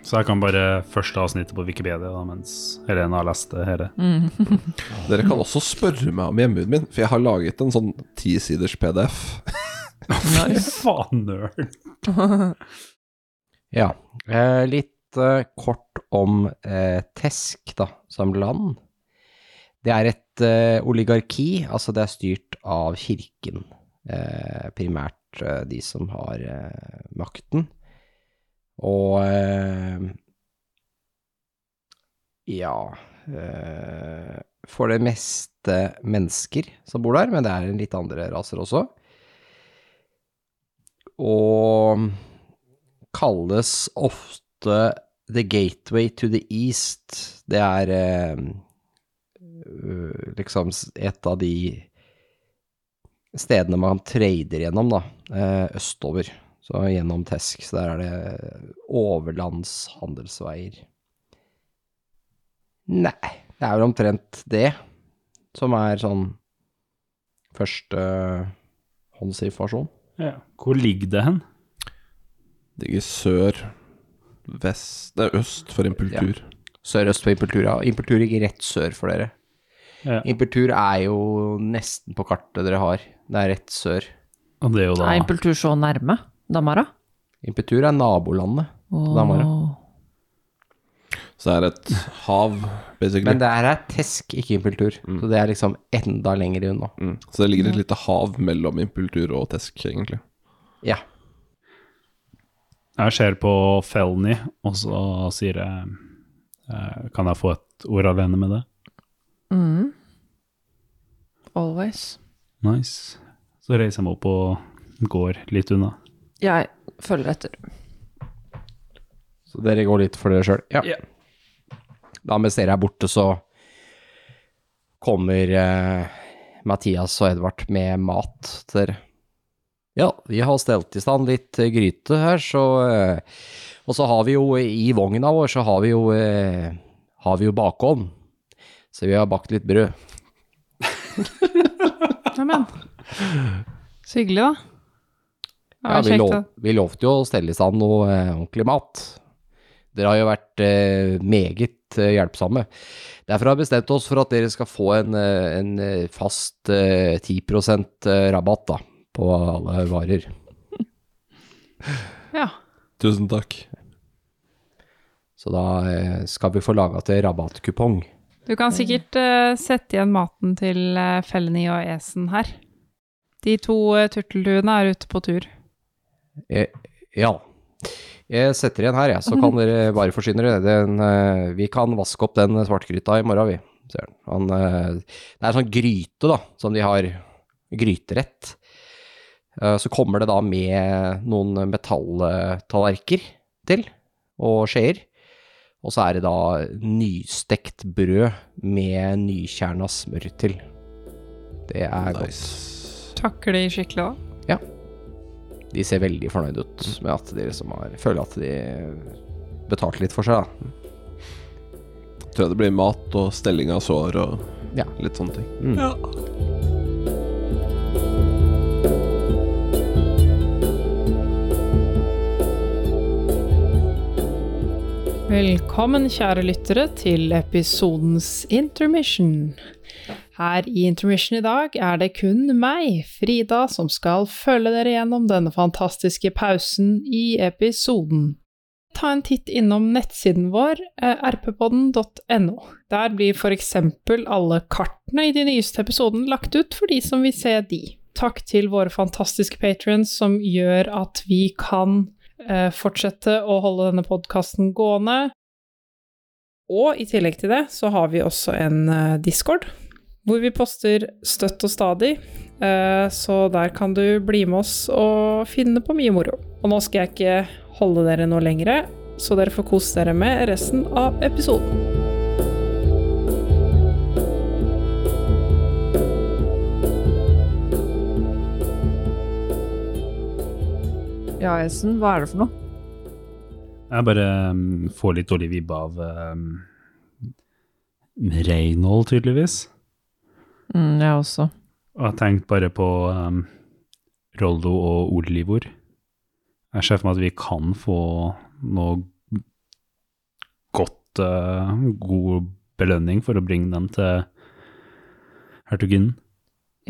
Speaker 5: Så jeg kan bare første avsnittet på Wikipedia da, mens Helena har lest det her.
Speaker 4: Mm.
Speaker 6: Dere kan også spørre meg om hjemmebyen min, for jeg har laget en sånn tisiders PDF.
Speaker 5: Fy faen, nerd!
Speaker 2: Ja. Eh, litt eh, kort om eh, Tesk, da, som land. Det er et eh, oligarki, altså det er styrt av kirken. Eh, primært eh, de som har eh, makten. Og eh, ja eh, For det meste mennesker som bor der, men det er litt andre raser også. Og kalles ofte The Gateway to the East. Det er eh, øh, liksom s- et av de stedene man trader gjennom, da, eh, østover. Så gjennom Tesk. Så der er det overlandshandelsveier. Nei, det er vel omtrent det som er sånn førstehåndsinformasjon.
Speaker 5: Ja. Hvor ligger det hen?
Speaker 6: Det ligger sør, vest Nei, øst for impultur.
Speaker 2: Sørøst for Impultura. Impultur gikk rett sør for dere.
Speaker 5: Ja.
Speaker 2: Impultur er jo nesten på kartet dere har. Det er rett sør.
Speaker 5: Og det er jo da
Speaker 4: Er impultur så nærme Damara?
Speaker 2: Impultur er nabolandet.
Speaker 4: Åh.
Speaker 2: Damara.
Speaker 6: Så det er et hav, basically.
Speaker 2: Men det her er Tesk, ikke Impultur. Så det er liksom enda lenger unna.
Speaker 6: mm. Så det ligger et lite hav mellom impultur og tesk, egentlig.
Speaker 2: Ja.
Speaker 5: Jeg ser på Felny, og så sier jeg eh, Kan jeg få et ord alene med det?
Speaker 4: Mm. Always.
Speaker 5: Nice. Så reiser jeg meg opp og går litt unna.
Speaker 4: Jeg følger etter.
Speaker 2: Så dere går litt for dere sjøl. Ja.
Speaker 5: Ja.
Speaker 2: Da mens dere er borte, så kommer eh, Mathias og Edvard med mat til dere. Ja, vi har stelt i stand litt eh, gryte her, så eh, Og så har vi jo eh, i vogna vår, så har vi jo eh, Har vi jo bakovn. Så vi har bakt litt brød.
Speaker 3: Neimen. Så hyggelig, da. Det
Speaker 2: Ja,
Speaker 3: var
Speaker 2: vi,
Speaker 3: kjekt,
Speaker 2: lov,
Speaker 3: da.
Speaker 2: vi lovte jo å stelle i stand noe eh, ordentlig mat. Dere har jo vært eh, meget eh, hjelpsomme. Derfor har vi bestemt oss for at dere skal få en, eh, en eh, fast eh, 10 rabatt da, på alle varer.
Speaker 3: Ja.
Speaker 6: Tusen takk.
Speaker 2: Så da eh, skal vi få laga til rabattkupong.
Speaker 3: Du kan sikkert eh, sette igjen maten til uh, Felny og Esen her. De to uh, turtelduene er ute på tur.
Speaker 2: Eh, ja. Jeg setter igjen her, jeg, så kan dere bare forsyne dere. Den, eh, vi kan vaske opp den svartgryta i morgen, vi. Sier han. Han, eh, det er sånn gryte, da, som de har gryterett. Eh, så kommer det da med noen metalltallerker til, og skjeer. Og så er det da nystekt brød med nykjerna smør til. Det er godt.
Speaker 6: Nice.
Speaker 3: Takler de skikkelig, da?
Speaker 2: De ser veldig fornøyd ut med at de liksom har Føler at de betalte litt for seg, da.
Speaker 6: Tror jeg det blir mat og stelling av sår og
Speaker 2: Ja.
Speaker 6: litt sånne ting.
Speaker 3: Velkommen, kjære lyttere, til episodens intermission. Her i intermission i dag er det kun meg, Frida, som skal følge dere gjennom denne fantastiske pausen i episoden. Ta en titt innom nettsiden vår, eh, rppodden.no. Der blir for eksempel alle kartene i de nyeste episoden lagt ut for de som vil se de. Takk til våre fantastiske patrons som gjør at vi kan eh, fortsette å holde denne podkasten gående. Og i tillegg til det så har vi også en eh, Discord, hvor vi poster støtt og stadig. Eh, Så der kan du bli med oss og finne på mye moro. Og nå skal jeg ikke holde dere noe lengre, så dere får kose dere med resten av episoden.
Speaker 4: Ja, Jensen, hva er det for noe?
Speaker 5: Jeg bare mm, får litt dårlig vibbe av um, Reynold, tydeligvis.
Speaker 4: Mm, jeg også.
Speaker 5: Og jeg tenkte bare på um, Rollo og Olivor. Jeg ser for meg at vi kan få noe godt, eh, god belønning for å bringe dem til hertuginnen.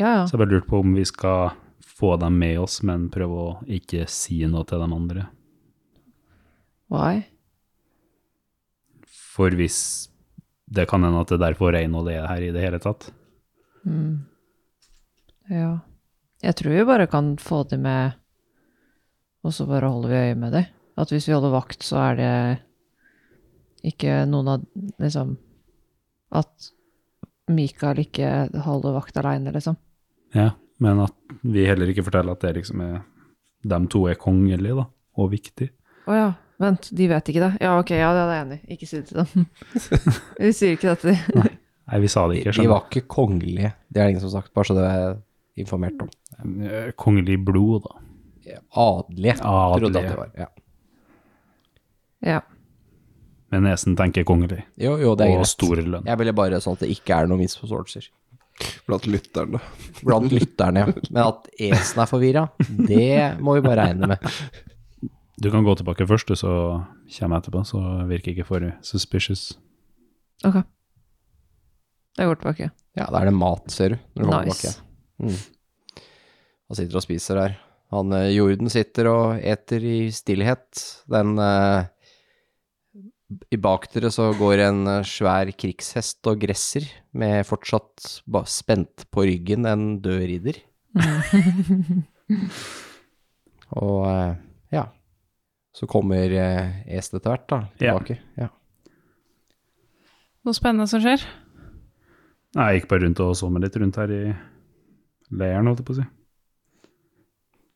Speaker 4: Ja, ja.
Speaker 5: Så jeg bare lurte på om vi skal få dem med oss, men prøve å ikke si noe til de andre.
Speaker 4: Why?
Speaker 5: For hvis det kan hende at det er derfor Reynold er her i det hele tatt.
Speaker 4: Mm. Ja. Jeg tror vi bare kan få de med, og så bare holder vi øye med dem. At hvis vi holder vakt, så er det ikke noen av Liksom At Mikael ikke holder vakt aleine, liksom.
Speaker 5: Ja, men at vi heller ikke forteller at det liksom er de to er kongelige, da, og viktig.
Speaker 4: Å ja. Vent, de vet ikke det? Ja, ok, ja, det er jeg enig i. Ikke si det til dem. Vi sier ikke det til dem.
Speaker 5: Nei, vi sa
Speaker 2: De,
Speaker 5: det ikke,
Speaker 2: de
Speaker 5: skjønner
Speaker 2: var ikke kongelige, det er det ingen som har sagt, bare så det er informert om.
Speaker 5: du. Eh, Kongelig blod, da.
Speaker 2: Adelige, trodde at
Speaker 5: Adelige.
Speaker 2: det var. Ja.
Speaker 4: Ja.
Speaker 5: Men Esen tenker kongelig,
Speaker 2: Jo, jo, det er
Speaker 5: og
Speaker 2: greit.
Speaker 5: stor lønn.
Speaker 2: Jeg ville bare sånn at det ikke er noen misforståelser
Speaker 6: Blant lytterne.
Speaker 2: blant lytterne. ja. Men at Esen er forvirra, det må vi bare regne med.
Speaker 5: Du kan gå tilbake først, du, så kommer jeg etterpå, så virker ikke for suspicious.
Speaker 4: Ok. Jeg går tilbake.
Speaker 2: Ja, da er det mat, ser du. Når du kommer
Speaker 4: Nice.
Speaker 2: tilbake. Han sitter og spiser der. Han eh, Jorden sitter og eter i stillhet. Den eh, I bak dere så går en eh, svær krigshest og gresser med fortsatt ba spent på ryggen en død ridder. og eh, ja. Så kommer uh, Est etter hvert, da.
Speaker 5: Ja.
Speaker 2: Tilbake. Ja.
Speaker 3: Noe spennende som skjer?
Speaker 5: Nei, Jeg gikk bare rundt og så meg litt rundt her i leiren, holdt jeg på å si.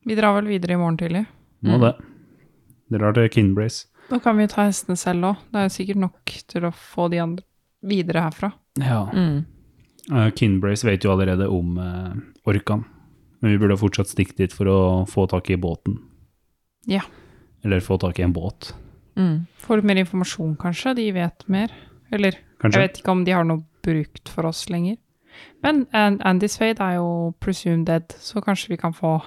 Speaker 3: Vi drar vel videre i morgen tidlig.
Speaker 5: Må
Speaker 2: Mm.
Speaker 5: det. Drar til Kinbrace.
Speaker 3: Da kan vi ta hestene selv òg. Det er jo sikkert nok til å få de andre videre herfra.
Speaker 5: Ja.
Speaker 4: Mm.
Speaker 5: Eh, Kinbrace vet jo allerede om uh, orkan, men vi burde fortsatt stikke dit for å få tak i båten.
Speaker 3: Ja.
Speaker 5: Eller få tak i en båt,
Speaker 4: Mm.
Speaker 3: Får litt mer informasjon, kanskje. De vet mer. Eller
Speaker 5: kanskje?
Speaker 3: Jeg vet ikke om de har noe brukt for oss lenger. Men An- Andy Spade er jo presumed dead, så kanskje vi kan få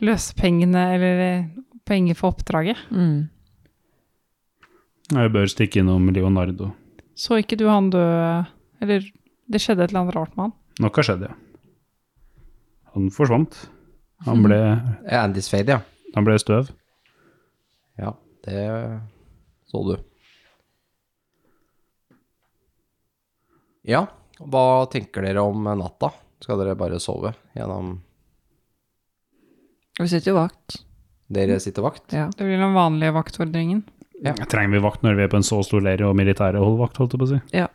Speaker 3: løsepengene, eller eh, penger for oppdraget.
Speaker 4: Mm.
Speaker 5: Jeg bør stikke innom Leonardo.
Speaker 3: Så ikke du han dø Eller det skjedde et eller annet rart med han.
Speaker 5: Noe har skjedd, ja. Han forsvant. Han ble,
Speaker 2: Andy's Eh, fade, ja.
Speaker 5: han ble støv.
Speaker 2: Ja, det så du. Ja, hva tenker dere om natta? Skal dere bare sove gjennom
Speaker 4: Vi sitter jo vakt.
Speaker 2: Dere sitter vakt?
Speaker 4: Ja.
Speaker 3: Det blir den vanlige vaktordringen.
Speaker 5: Trenger vi vakt når vi er på en så stor leir og militære holder vakt, holdt jeg på å si?
Speaker 6: Ja.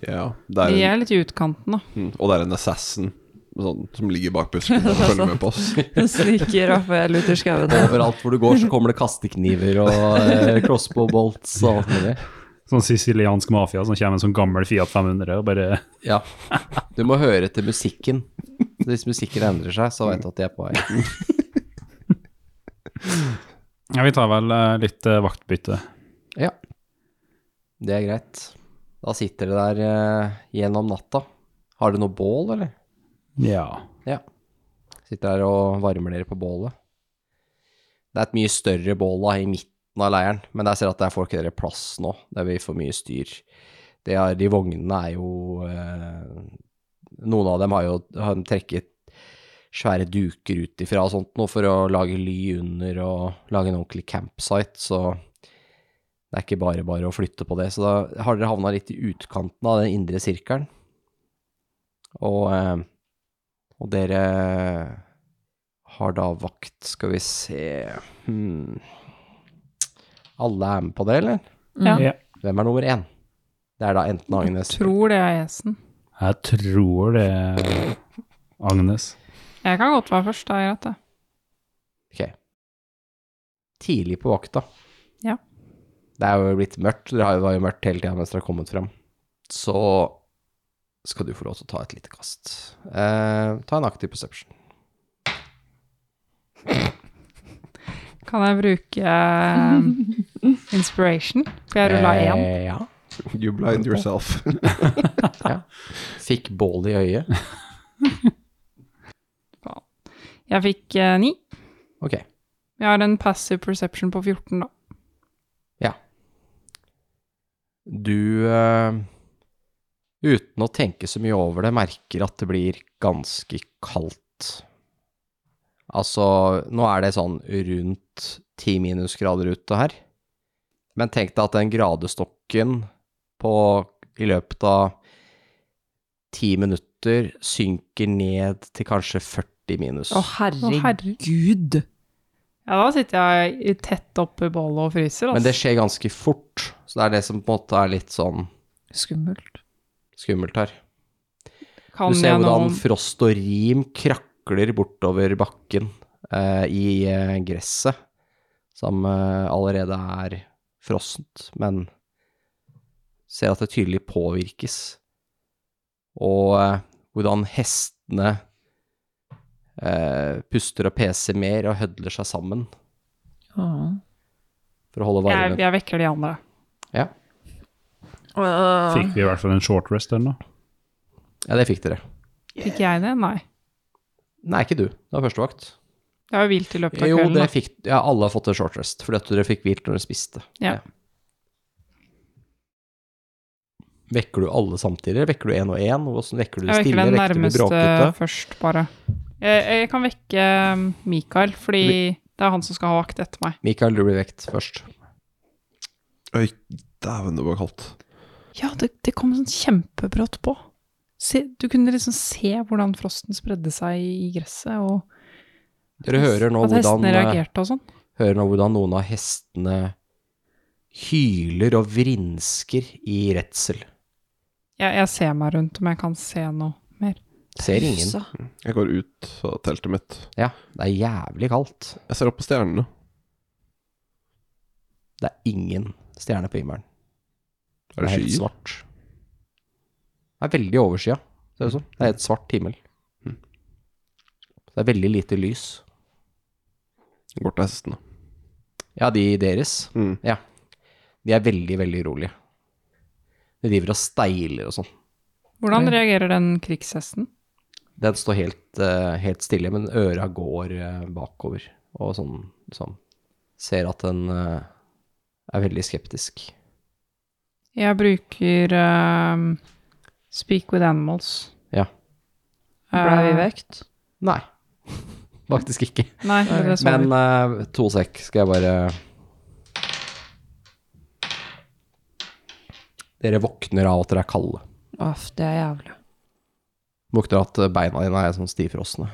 Speaker 6: Det
Speaker 3: De
Speaker 6: er en,
Speaker 3: er litt i utkanten, da.
Speaker 6: mm, og det er en assassin sånn, som ligger bak busken og følger med på oss.
Speaker 4: Sniker Rafael ut i skauen.
Speaker 2: Overalt hvor du går, så kommer det kastekniver og eh, crossbow bolts og alt mulig.
Speaker 5: Sånn siciliansk mafia som kommer med en sånn gammel Fiat 500 og bare
Speaker 2: Ja. Du må høre etter musikken. Så hvis musikken endrer seg, så veit du at de er på vei.
Speaker 5: Ja, vi tar vel eh, litt eh, vaktbytte.
Speaker 2: Det er greit. Da sitter dere der eh, gjennom natta. Har dere noe bål, eller?
Speaker 5: Ja.
Speaker 2: Sitter der og varmer dere på bålet. Det er et mye større bål da, i midten av leiren, men der ser jeg at det er folk i dere plass nå. Det blir for mye styr. Det er, de vognene er jo eh, Noen av dem har jo har trekket svære duker ut ifra og sånt nå for å lage ly under og lage en ordentlig campsite, så det er ikke bare bare å flytte på det. Så da har dere havna litt i utkanten av den indre sirkelen. Og eh, og dere har da vakt, skal vi se hmm. Alle er med på det, eller?
Speaker 3: Ja.
Speaker 4: Mm.
Speaker 5: Ja.
Speaker 2: Hvem er nummer én? Det er da enten Agnes
Speaker 3: Tror det er Esen.
Speaker 5: Jeg tror det er Agnes.
Speaker 3: Jeg kan godt være først, det er greit, det.
Speaker 2: tidlig på vakta.
Speaker 3: Ja.
Speaker 2: Det er jo blitt mørkt. Det har jo- var jo mørkt hele tida mens dere har kommet fram. Så skal du få lov til å ta et lite kast. Eh, ta en aktiv perception.
Speaker 3: Kan jeg bruke
Speaker 4: Um,
Speaker 3: eh, inspiration? For jeg rulla én.
Speaker 2: Eh, ja.
Speaker 6: You blind yourself.
Speaker 2: Fikk bål i øyet.
Speaker 3: Jeg fikk eh, ni.
Speaker 2: Ok.
Speaker 3: Jeg har en passive perception på 14, da.
Speaker 2: Du, eh, uten å tenke så mye over det, merker at det blir ganske kaldt. Altså, nå er det sånn rundt ti minusgrader ute her. Men tenk deg at den gradestokken på, i løpet av ti minutter synker ned til kanskje 40 minus.
Speaker 4: Å, herregud!
Speaker 3: Ja, da sitter jeg tett oppi bålet og fryser,
Speaker 2: Men det
Speaker 3: altså.
Speaker 2: skjer ganske fort, så det er det som på en måte er litt sånn
Speaker 4: Skummelt.
Speaker 2: skummelt her.
Speaker 3: Kan
Speaker 2: Du ser
Speaker 3: jeg
Speaker 2: hvordan
Speaker 3: noe-
Speaker 2: frost og rim krakler bortover bakken eh, i eh, gresset, som eh, allerede er frossent, men ser at det tydelig påvirkes. Og eh, hvordan hestene eh, puster og peser mer og hødler seg sammen
Speaker 4: Ah.
Speaker 2: for å holde
Speaker 3: jeg,
Speaker 2: varmen.
Speaker 3: jeg vekker de andre.
Speaker 5: Fikk vi i hvert fall en short rest eller noe?
Speaker 2: Ja, det fikk dere.
Speaker 3: Fikk jeg det? Nei.
Speaker 2: Nei, ikke du. Det var første vakt.
Speaker 3: Jeg har jo hvilt i løpet av
Speaker 2: Jo,
Speaker 3: kvelden.
Speaker 2: det
Speaker 3: da.
Speaker 2: fikk, ja, alle har fått en short rest, fordi at dere fikk hvilt når dere spiste.
Speaker 3: Ja.
Speaker 2: Vekker du alle samtidig? Vekker du én og én? Hvordan vekker du de
Speaker 3: Jeg vekker
Speaker 2: stille? Vekker
Speaker 3: den
Speaker 2: du de
Speaker 3: nærmeste
Speaker 2: bråkete?
Speaker 3: først, bare. Jeg, jeg kan vekke um, Mikael, fordi det er han som skal ha vakt etter meg.
Speaker 2: Mikael, du blir vekt først.
Speaker 6: Oi, dæven, det var kaldt.
Speaker 3: Ja, det, det kom sånn kjempebrått på. Se, du kunne liksom se hvordan frosten spredde seg i gresset, og
Speaker 2: Dere hører nå,
Speaker 3: at
Speaker 2: hvordan,
Speaker 3: hestene
Speaker 2: eh,
Speaker 3: reagerte og sånn.
Speaker 2: hører nå hvordan noen av hestene hyler og vrinsker i redsel.
Speaker 3: Jeg, jeg ser meg rundt om jeg kan se noe mer.
Speaker 2: Ser ingen.
Speaker 4: Pølsa.
Speaker 6: Jeg går ut av teltet mitt.
Speaker 2: Ja, det er jævlig kaldt.
Speaker 6: Jeg ser opp på stjernene.
Speaker 2: Det er ingen stjerne på himmelen.
Speaker 6: Er det
Speaker 2: helt
Speaker 6: skyer?
Speaker 2: svart. Det er veldig overskya, ser det ut som. Det er helt svart himmel.
Speaker 6: Hmm.
Speaker 2: Det er veldig lite lys.
Speaker 6: Går til hestene.
Speaker 2: Ja, de deres,
Speaker 6: Mm.
Speaker 2: de er veldig, veldig urolige. De driver og steiler og sånn.
Speaker 3: Hvordan reagerer den krigshesten?
Speaker 2: Den står helt, eh, helt stille, men øra går eh, bakover. Og sånn liksom Ser at den eh, er veldig skeptisk.
Speaker 3: Jeg bruker um, Speak with animals.
Speaker 2: Ja.
Speaker 4: Ble vi
Speaker 3: Eh,
Speaker 4: vekt?
Speaker 2: Nei. Faktisk ikke.
Speaker 3: Nei, det er det som
Speaker 2: Men eh, to sekk skal jeg bare Dere våkner av at dere er kalde.
Speaker 4: Aff, det er jævlig.
Speaker 2: Våkner av at eh, beina dine er sånn stivfrosne.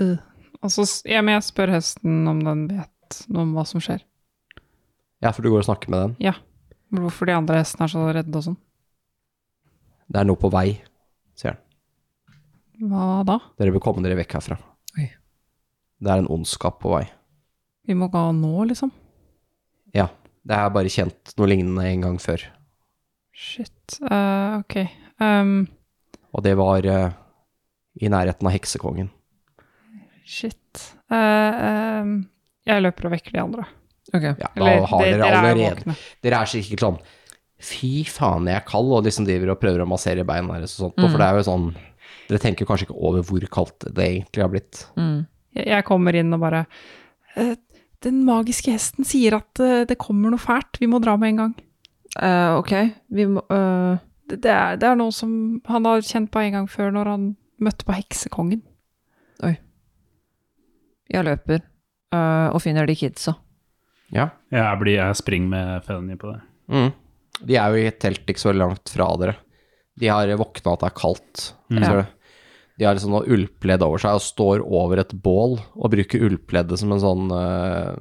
Speaker 3: Og så s- ja, men jeg spør hesten om den vet noe om hva som skjer.
Speaker 2: Ja, for du går og snakker med den.
Speaker 3: Hvorfor de andre hestene er så redde og sånn.
Speaker 2: Det er noe på vei, sier den.
Speaker 3: Hva da?
Speaker 2: Dere bør komme dere vekk herfra.
Speaker 4: Oi.
Speaker 2: Det er en ondskap på vei.
Speaker 3: Vi må gå nå, liksom?
Speaker 2: Det er bare kjent noe lignende en gang før.
Speaker 3: Shit. eh, ok. Um,
Speaker 2: Og det var eh, i nærheten av heksekongen.
Speaker 3: shit. Eh, um, Jeg løper og vekker de andre.
Speaker 4: Ok.
Speaker 2: Ja, da
Speaker 3: Eller,
Speaker 2: har
Speaker 3: de-
Speaker 2: dere
Speaker 3: dere er jo
Speaker 2: allerede
Speaker 3: våkne.
Speaker 2: Dere er sikkert sånn Fy faen, jeg er kald, og liksom driver og prøver å massere beina deres og sånt. og For det er jo sånn Dere tenker kanskje ikke over hvor kaldt det egentlig har blitt.
Speaker 4: Mm.
Speaker 3: Jeg- Jeg kommer inn og bare «Eh, Den magiske hesten sier at eh, det kommer noe fælt, vi må dra med en gang.
Speaker 4: Eh, ok, vi må eh,
Speaker 3: Det, det, er, det er noe som han har kjent på en gang før, når han møtte på heksekongen.
Speaker 4: Jeg løper eh, og finner de kidsa.
Speaker 2: Ja.
Speaker 5: Jeg, blir, jeg springer med Fenny på det.
Speaker 2: Mm. De er jo i et telt ikke så langt fra dere. De har våkna at det er kaldt. Ser du? De har liksom noe ullpledd over seg og står over et bål og bruker ullpleddet som en sånn eh,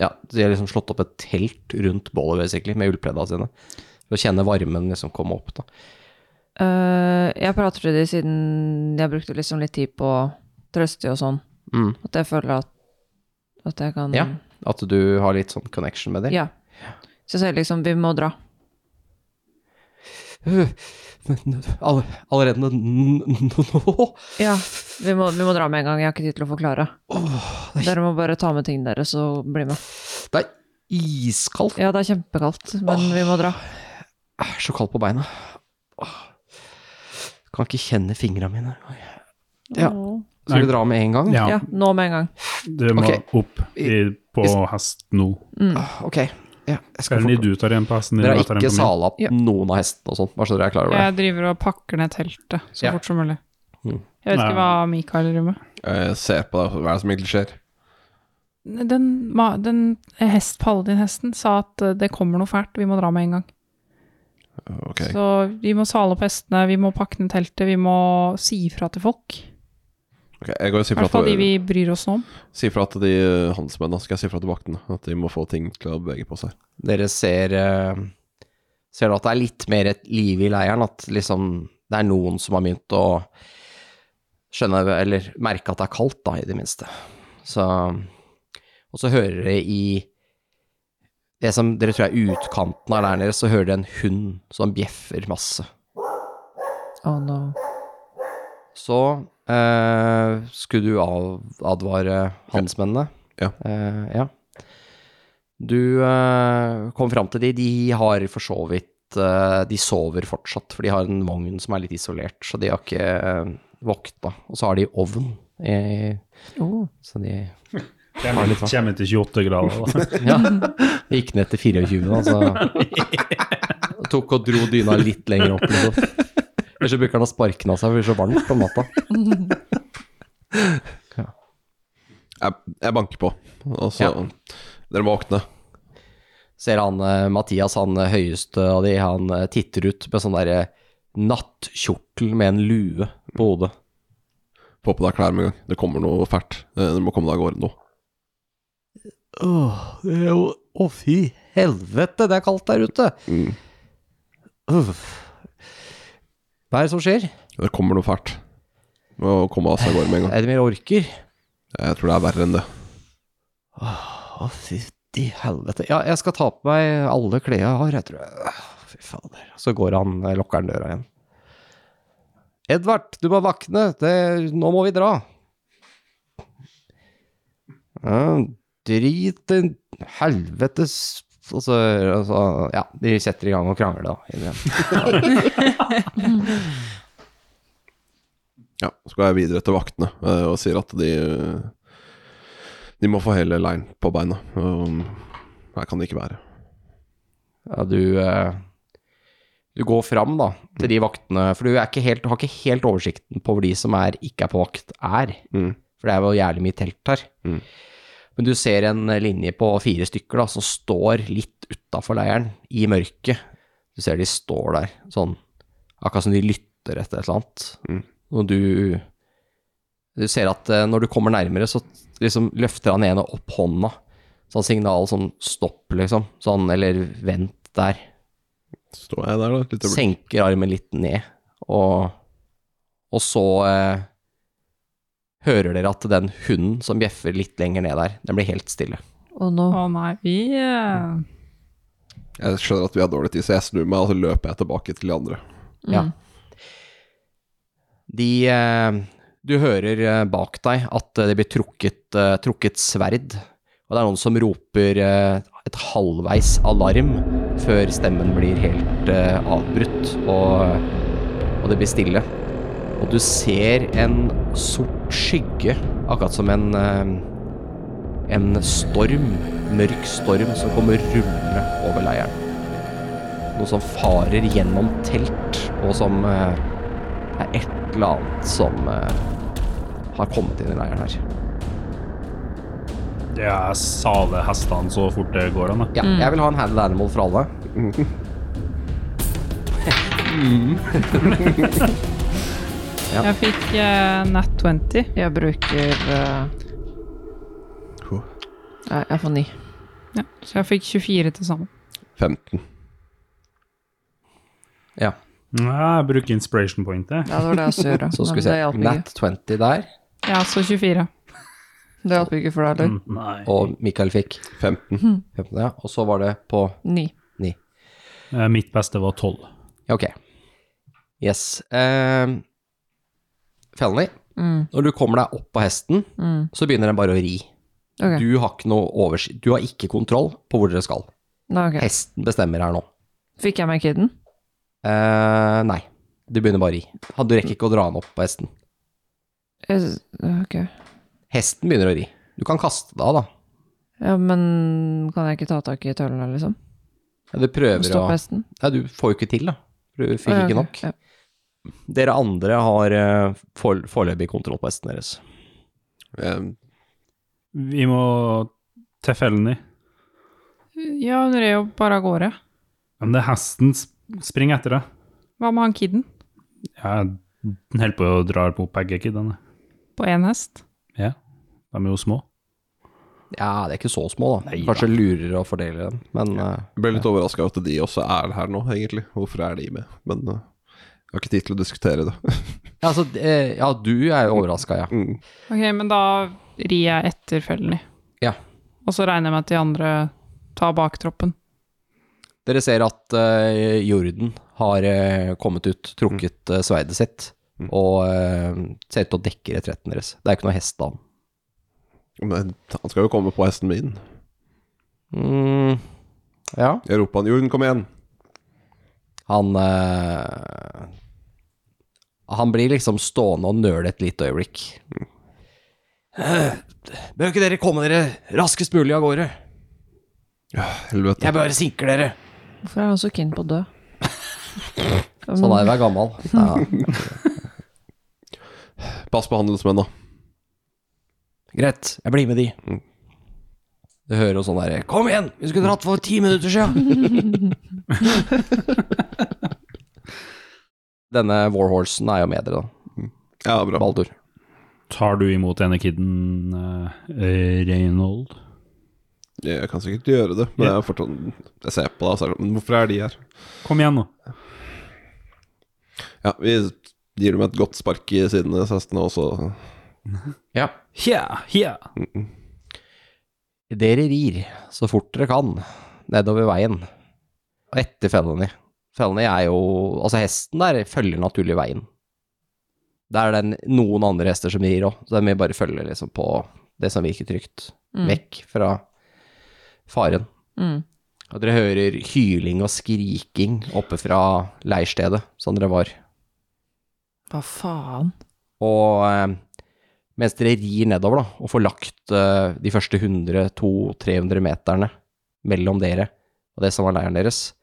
Speaker 2: Ja, de har liksom slått opp et telt rundt bålet, basically, med ullpledda sine. For å kjenne varmen liksom komme opp, da.
Speaker 4: Eh, jeg prater til de siden jeg brukte liksom litt tid på å trøste de og sånn.
Speaker 2: Mm.
Speaker 4: At jeg føler at, at jeg kan
Speaker 2: Ja. At du har litt sånn connection med dem.
Speaker 4: Ja. Så jeg sier liksom vi må dra.
Speaker 2: All, allerede n- n- nå?
Speaker 4: Ja, vi må, vi må dra med en gang. Jeg har ikke tid til å forklare. Dere må bare ta med tingene deres og bli med.
Speaker 2: Det er iskaldt.
Speaker 4: Ja, det er kjempekaldt, men vi må dra.
Speaker 2: Jeg er så kaldt på beina. Åh. Kan ikke kjenne fingra mine. Ja.
Speaker 3: Åh.
Speaker 2: Skal vi dra med en gang?
Speaker 5: Ja,
Speaker 4: Ja, nå med en gang.
Speaker 5: du må
Speaker 2: Ok.
Speaker 5: opp i, på hest nå.
Speaker 2: Ok. Ja, jeg skal
Speaker 5: Eller
Speaker 2: få...
Speaker 5: du tar igjen på hesten din.
Speaker 2: Dere
Speaker 5: og
Speaker 2: har
Speaker 5: jeg tar en
Speaker 2: ikke
Speaker 5: på min.
Speaker 2: sala opp
Speaker 4: Ja.
Speaker 2: noen av hestene og sånt, bare så dere er klar over det.
Speaker 3: Jeg driver og pakker ned teltet så
Speaker 2: Ja.
Speaker 3: fort som mulig.
Speaker 2: Mm.
Speaker 3: Jeg vet
Speaker 5: Nei.
Speaker 3: ikke hva Mikael driver med.
Speaker 6: Jeg ser på deg, hva er det som egentlig skjer?
Speaker 3: Den, ma- den hest, paladin-hesten sa at eh, det kommer noe fælt, vi må dra med en gang.
Speaker 6: Ok,
Speaker 3: Så vi må sale opp hestene, vi må pakke ned teltet, vi må si ifra til folk.
Speaker 6: ok, jeg går og
Speaker 3: I
Speaker 6: sier fra
Speaker 3: hvert fall de
Speaker 6: til,
Speaker 3: vi bryr oss om.
Speaker 6: sier fra til de eh, handelsmennene, skal jeg si fra til vaktene, at de må få ting til å bevege på seg.
Speaker 2: Dere ser, eh, ser at det er litt mer et liv i leiren, at liksom det er noen som har begynt å skjønne, eller merke at det er kaldt, da, i det minste. Så, og så hører dere i det som dere tror er utkanten av leiren deres, så hører dere en hund som bjeffer masse.
Speaker 4: Å, no.
Speaker 2: Så eh, skulle du av, advare handelsmennene.
Speaker 6: Ja.
Speaker 2: Eh, ja. Du eh, kom fram til de. De har for så vidt eh, De sover fortsatt, for de har en vogn som er litt isolert, så de har ikke eh, vokta. Og så har de ovn. Eh,
Speaker 4: Oh.
Speaker 2: så de
Speaker 5: Kommer kommer til 28 grader. da.
Speaker 2: Ja. Det gikk ned til 24, da, så Tok og dro dyna litt lenger opp, liksom. Ellers så bruker han å sparke den av seg, for det blir så varmt om natta.
Speaker 6: Jeg, jeg banker på, og så Dere må våkne.
Speaker 2: ser han eh, Mathias, han eh, høyeste av de, han eh, titter ut med sånn derre nattkjortel med en lue på hodet.
Speaker 6: Få på deg klær med en gang. Det kommer noe fælt. Eh, Du må komme deg av gårde nå.
Speaker 2: Åh, det er jo Å, fy helvete, det er kaldt der ute!
Speaker 6: Mm.
Speaker 2: Uff. Hva er det som skjer?
Speaker 6: Det kommer noe fælt. Du Må komme av seg av gårde med en gang.
Speaker 2: Er det mer orker?
Speaker 6: Jeg tror det er verre enn det.
Speaker 2: Å, fytti helvete. Ja, jeg skal ta på meg alle klærne jeg har, jeg tror jeg. Fy fader. Så går han, eh, lukker han døra igjen. Edvard, du må våkne. Det, nå må vi dra. Ja, drit i helvetes og så, og så, ja, de setter i gang og krangler da. inn igjen.
Speaker 6: Ja, så går jeg videre til vaktene eh, og sier at de eh, De må få hele leiren på beina. Um, Her kan de ikke være.
Speaker 2: Ja, du, eh, du går fram da, til de vaktene, for du, er ikke helt, du har ikke helt oversikten på hvor de som er, ikke er på vakt er.
Speaker 6: Mm.
Speaker 2: For det er jo jævlig mye telt her.
Speaker 6: Mm.
Speaker 2: Men du ser en linje på fire stykker da, som står litt utafor leiren, i mørket. Du ser de står der, sånn akkurat som de lytter etter et eller annet.
Speaker 6: Mm.
Speaker 2: Og du, du ser at eh, når du kommer nærmere, så liksom løfter han ene opp hånda. Sånn signal som stopp, liksom. Sånn, eller vent der.
Speaker 6: Står jeg der, da? et lite øyeblikk?
Speaker 2: Senker armen litt ned, og, og så eh, hører dere at den hunden som bjeffer litt lenger ned der, den blir helt stille.
Speaker 4: Å, no.
Speaker 3: Å nei, vi eh,
Speaker 6: Jeg skjønner at vi har dårlig tid, så jeg snur meg og så løper jeg tilbake til de andre.
Speaker 2: Ja. De eh, Du hører eh, bak deg at eh, det blir trukket, eh, trukket sverd, Og det er noen som roper eh, et halvveis alarm før stemmen blir helt eh, avbrutt, og, og det blir stille. Og du ser en sort skygge, akkurat som en eh, en storm, mørk storm, som kommer rullende over leiren. Noe som farer gjennom telt, og som eh, er et eller annet som eh, har kommet inn i leiren her.
Speaker 5: Det er sale hestene så fort det går an, da.
Speaker 2: Ja,
Speaker 4: Mm.
Speaker 2: jeg vil ha en handled animal fra alle.
Speaker 3: Jeg fikk eh, Nat 20.
Speaker 4: Jeg bruker eh,
Speaker 6: Huh.
Speaker 4: Nei, jeg får ni.
Speaker 3: Ja, så jeg fikk 24 til sammen.
Speaker 6: 15.
Speaker 2: Ja,
Speaker 5: Nei, Jeg bruker inspiration point, jeg.
Speaker 4: Ja, det var det jeg skulle gjøre.
Speaker 2: så skal vi
Speaker 4: men det hjalp
Speaker 2: se.
Speaker 4: ikke.
Speaker 2: Nat 20 der,
Speaker 3: Ja, så 24.
Speaker 4: Det hjalp ikke for deg, eller?
Speaker 5: Mm, Nei.
Speaker 2: og Mikael fikk
Speaker 6: 15.
Speaker 2: 15, ja. Og så var det på
Speaker 4: Ni.
Speaker 2: 9.
Speaker 5: Eh, Mitt beste var tolv.
Speaker 2: Ja, ok. Yes. Eh, Felny,
Speaker 4: Mm.
Speaker 2: når du kommer deg opp på hesten,
Speaker 4: Mm.
Speaker 2: så begynner den bare å ri.
Speaker 4: Ok.
Speaker 2: Du har ikke noe oversikt, du har ikke kontroll på hvor dere skal.
Speaker 4: Nei, ok.
Speaker 2: Hesten bestemmer her nå.
Speaker 4: Fikk jeg meg kiden?
Speaker 2: Eh, nei, du begynner bare å ri. Du rekker ikke å dra den opp på hesten.
Speaker 4: Jeg- Ok.
Speaker 2: Hesten begynner å ri. Du kan kaste deg av, da.
Speaker 4: Ja, men kan jeg ikke ta tak i tøllene, liksom?
Speaker 2: Ja, Du prøver å
Speaker 4: Stoppe hesten?
Speaker 2: Nei, du får jo ikke til, da. For Du fikk
Speaker 4: Å, ja,
Speaker 2: ikke
Speaker 4: ok.
Speaker 2: nok.
Speaker 4: Ja.
Speaker 2: Dere andre har eh, for- foreløpig kontroll på hesten deres.
Speaker 6: Jeg
Speaker 5: Vi må til fellen i.
Speaker 3: Ja, hun red jo bare av gårde.
Speaker 5: Men det er hesten sp- springer etter deg.
Speaker 3: Hva med han kiden?
Speaker 5: Jeg holder på å dra opp begge kidene.
Speaker 3: På én hest?
Speaker 5: Ja, de er jo små.
Speaker 2: Ja, det er ikke så små, da.
Speaker 5: Nei da.
Speaker 2: Kanskje lurere å fordele dem, men eh,
Speaker 6: ble litt overraska over at de også er her nå, egentlig. Hvorfor er de med? Men eh, jeg har ikke tid til å diskutere det.
Speaker 2: ja, altså, eh, ja, du er jo overraska, ja.
Speaker 6: Mm.
Speaker 3: Ok, men da rir jeg etter fellen i.
Speaker 2: Ja.
Speaker 3: Og så regner jeg med at de andre tar baktroppen.
Speaker 2: Dere ser at eh, Jorden har eh, kommet ut, trukket eh, sverdet sitt,
Speaker 5: Mm.
Speaker 2: og eh, ser ut til å dekke retretten deres. Det er ikke noe hest da.
Speaker 6: Men han skal jo komme på hesten min.
Speaker 2: Mm, ja.
Speaker 6: Jeg roper han 'Jorden, kom igjen'.
Speaker 2: Han eh, Han blir liksom stående og nøle et lite øyeblikk. Bør ikke dere komme dere raskest mulig av gårde?
Speaker 6: Helvete.
Speaker 2: Jeg bare sinker dere.
Speaker 4: Hvorfor er han så keen på å dø?
Speaker 2: Så han Sånn er jo gammel. Ja,
Speaker 6: Pass på handelsmenn, da.
Speaker 2: greit, jeg blir med de. Mm. Du hører jo sånn derre Kom igjen, vi skulle dratt for ti minutter siden. Denne warhorsen er jo med dere, da.
Speaker 6: Ja, bra.
Speaker 2: Baldur.
Speaker 5: Tar du imot denne kiden, eh, Reynold?
Speaker 6: Jeg kan sikkert gjøre det, men
Speaker 5: Ja.
Speaker 6: jeg, er fortsatt, jeg ser på deg og så er det sånn, Men hvorfor er de her?
Speaker 5: Kom igjen nå.
Speaker 6: Ja, vi gir dem et godt spark i sidene, hestene, og så
Speaker 2: Ja.
Speaker 5: Yeah, yeah.
Speaker 2: Dere rir så fort dere kan nedover veien, og etter Felony. Felony er jo Altså, hesten der følger naturlig veien. Det er den, noen andre hester som rir òg, så den vil bare følge liksom på det som virker trygt. Vekk fra faren.
Speaker 4: Mm.
Speaker 2: Og dere hører hyling og skriking oppe fra leirstedet som dere var.
Speaker 4: Hva faen?
Speaker 2: Og eh, mens dere rir nedover da, og får lagt eh, de første 100-200-300 meterne mellom dere og det som var leiren deres,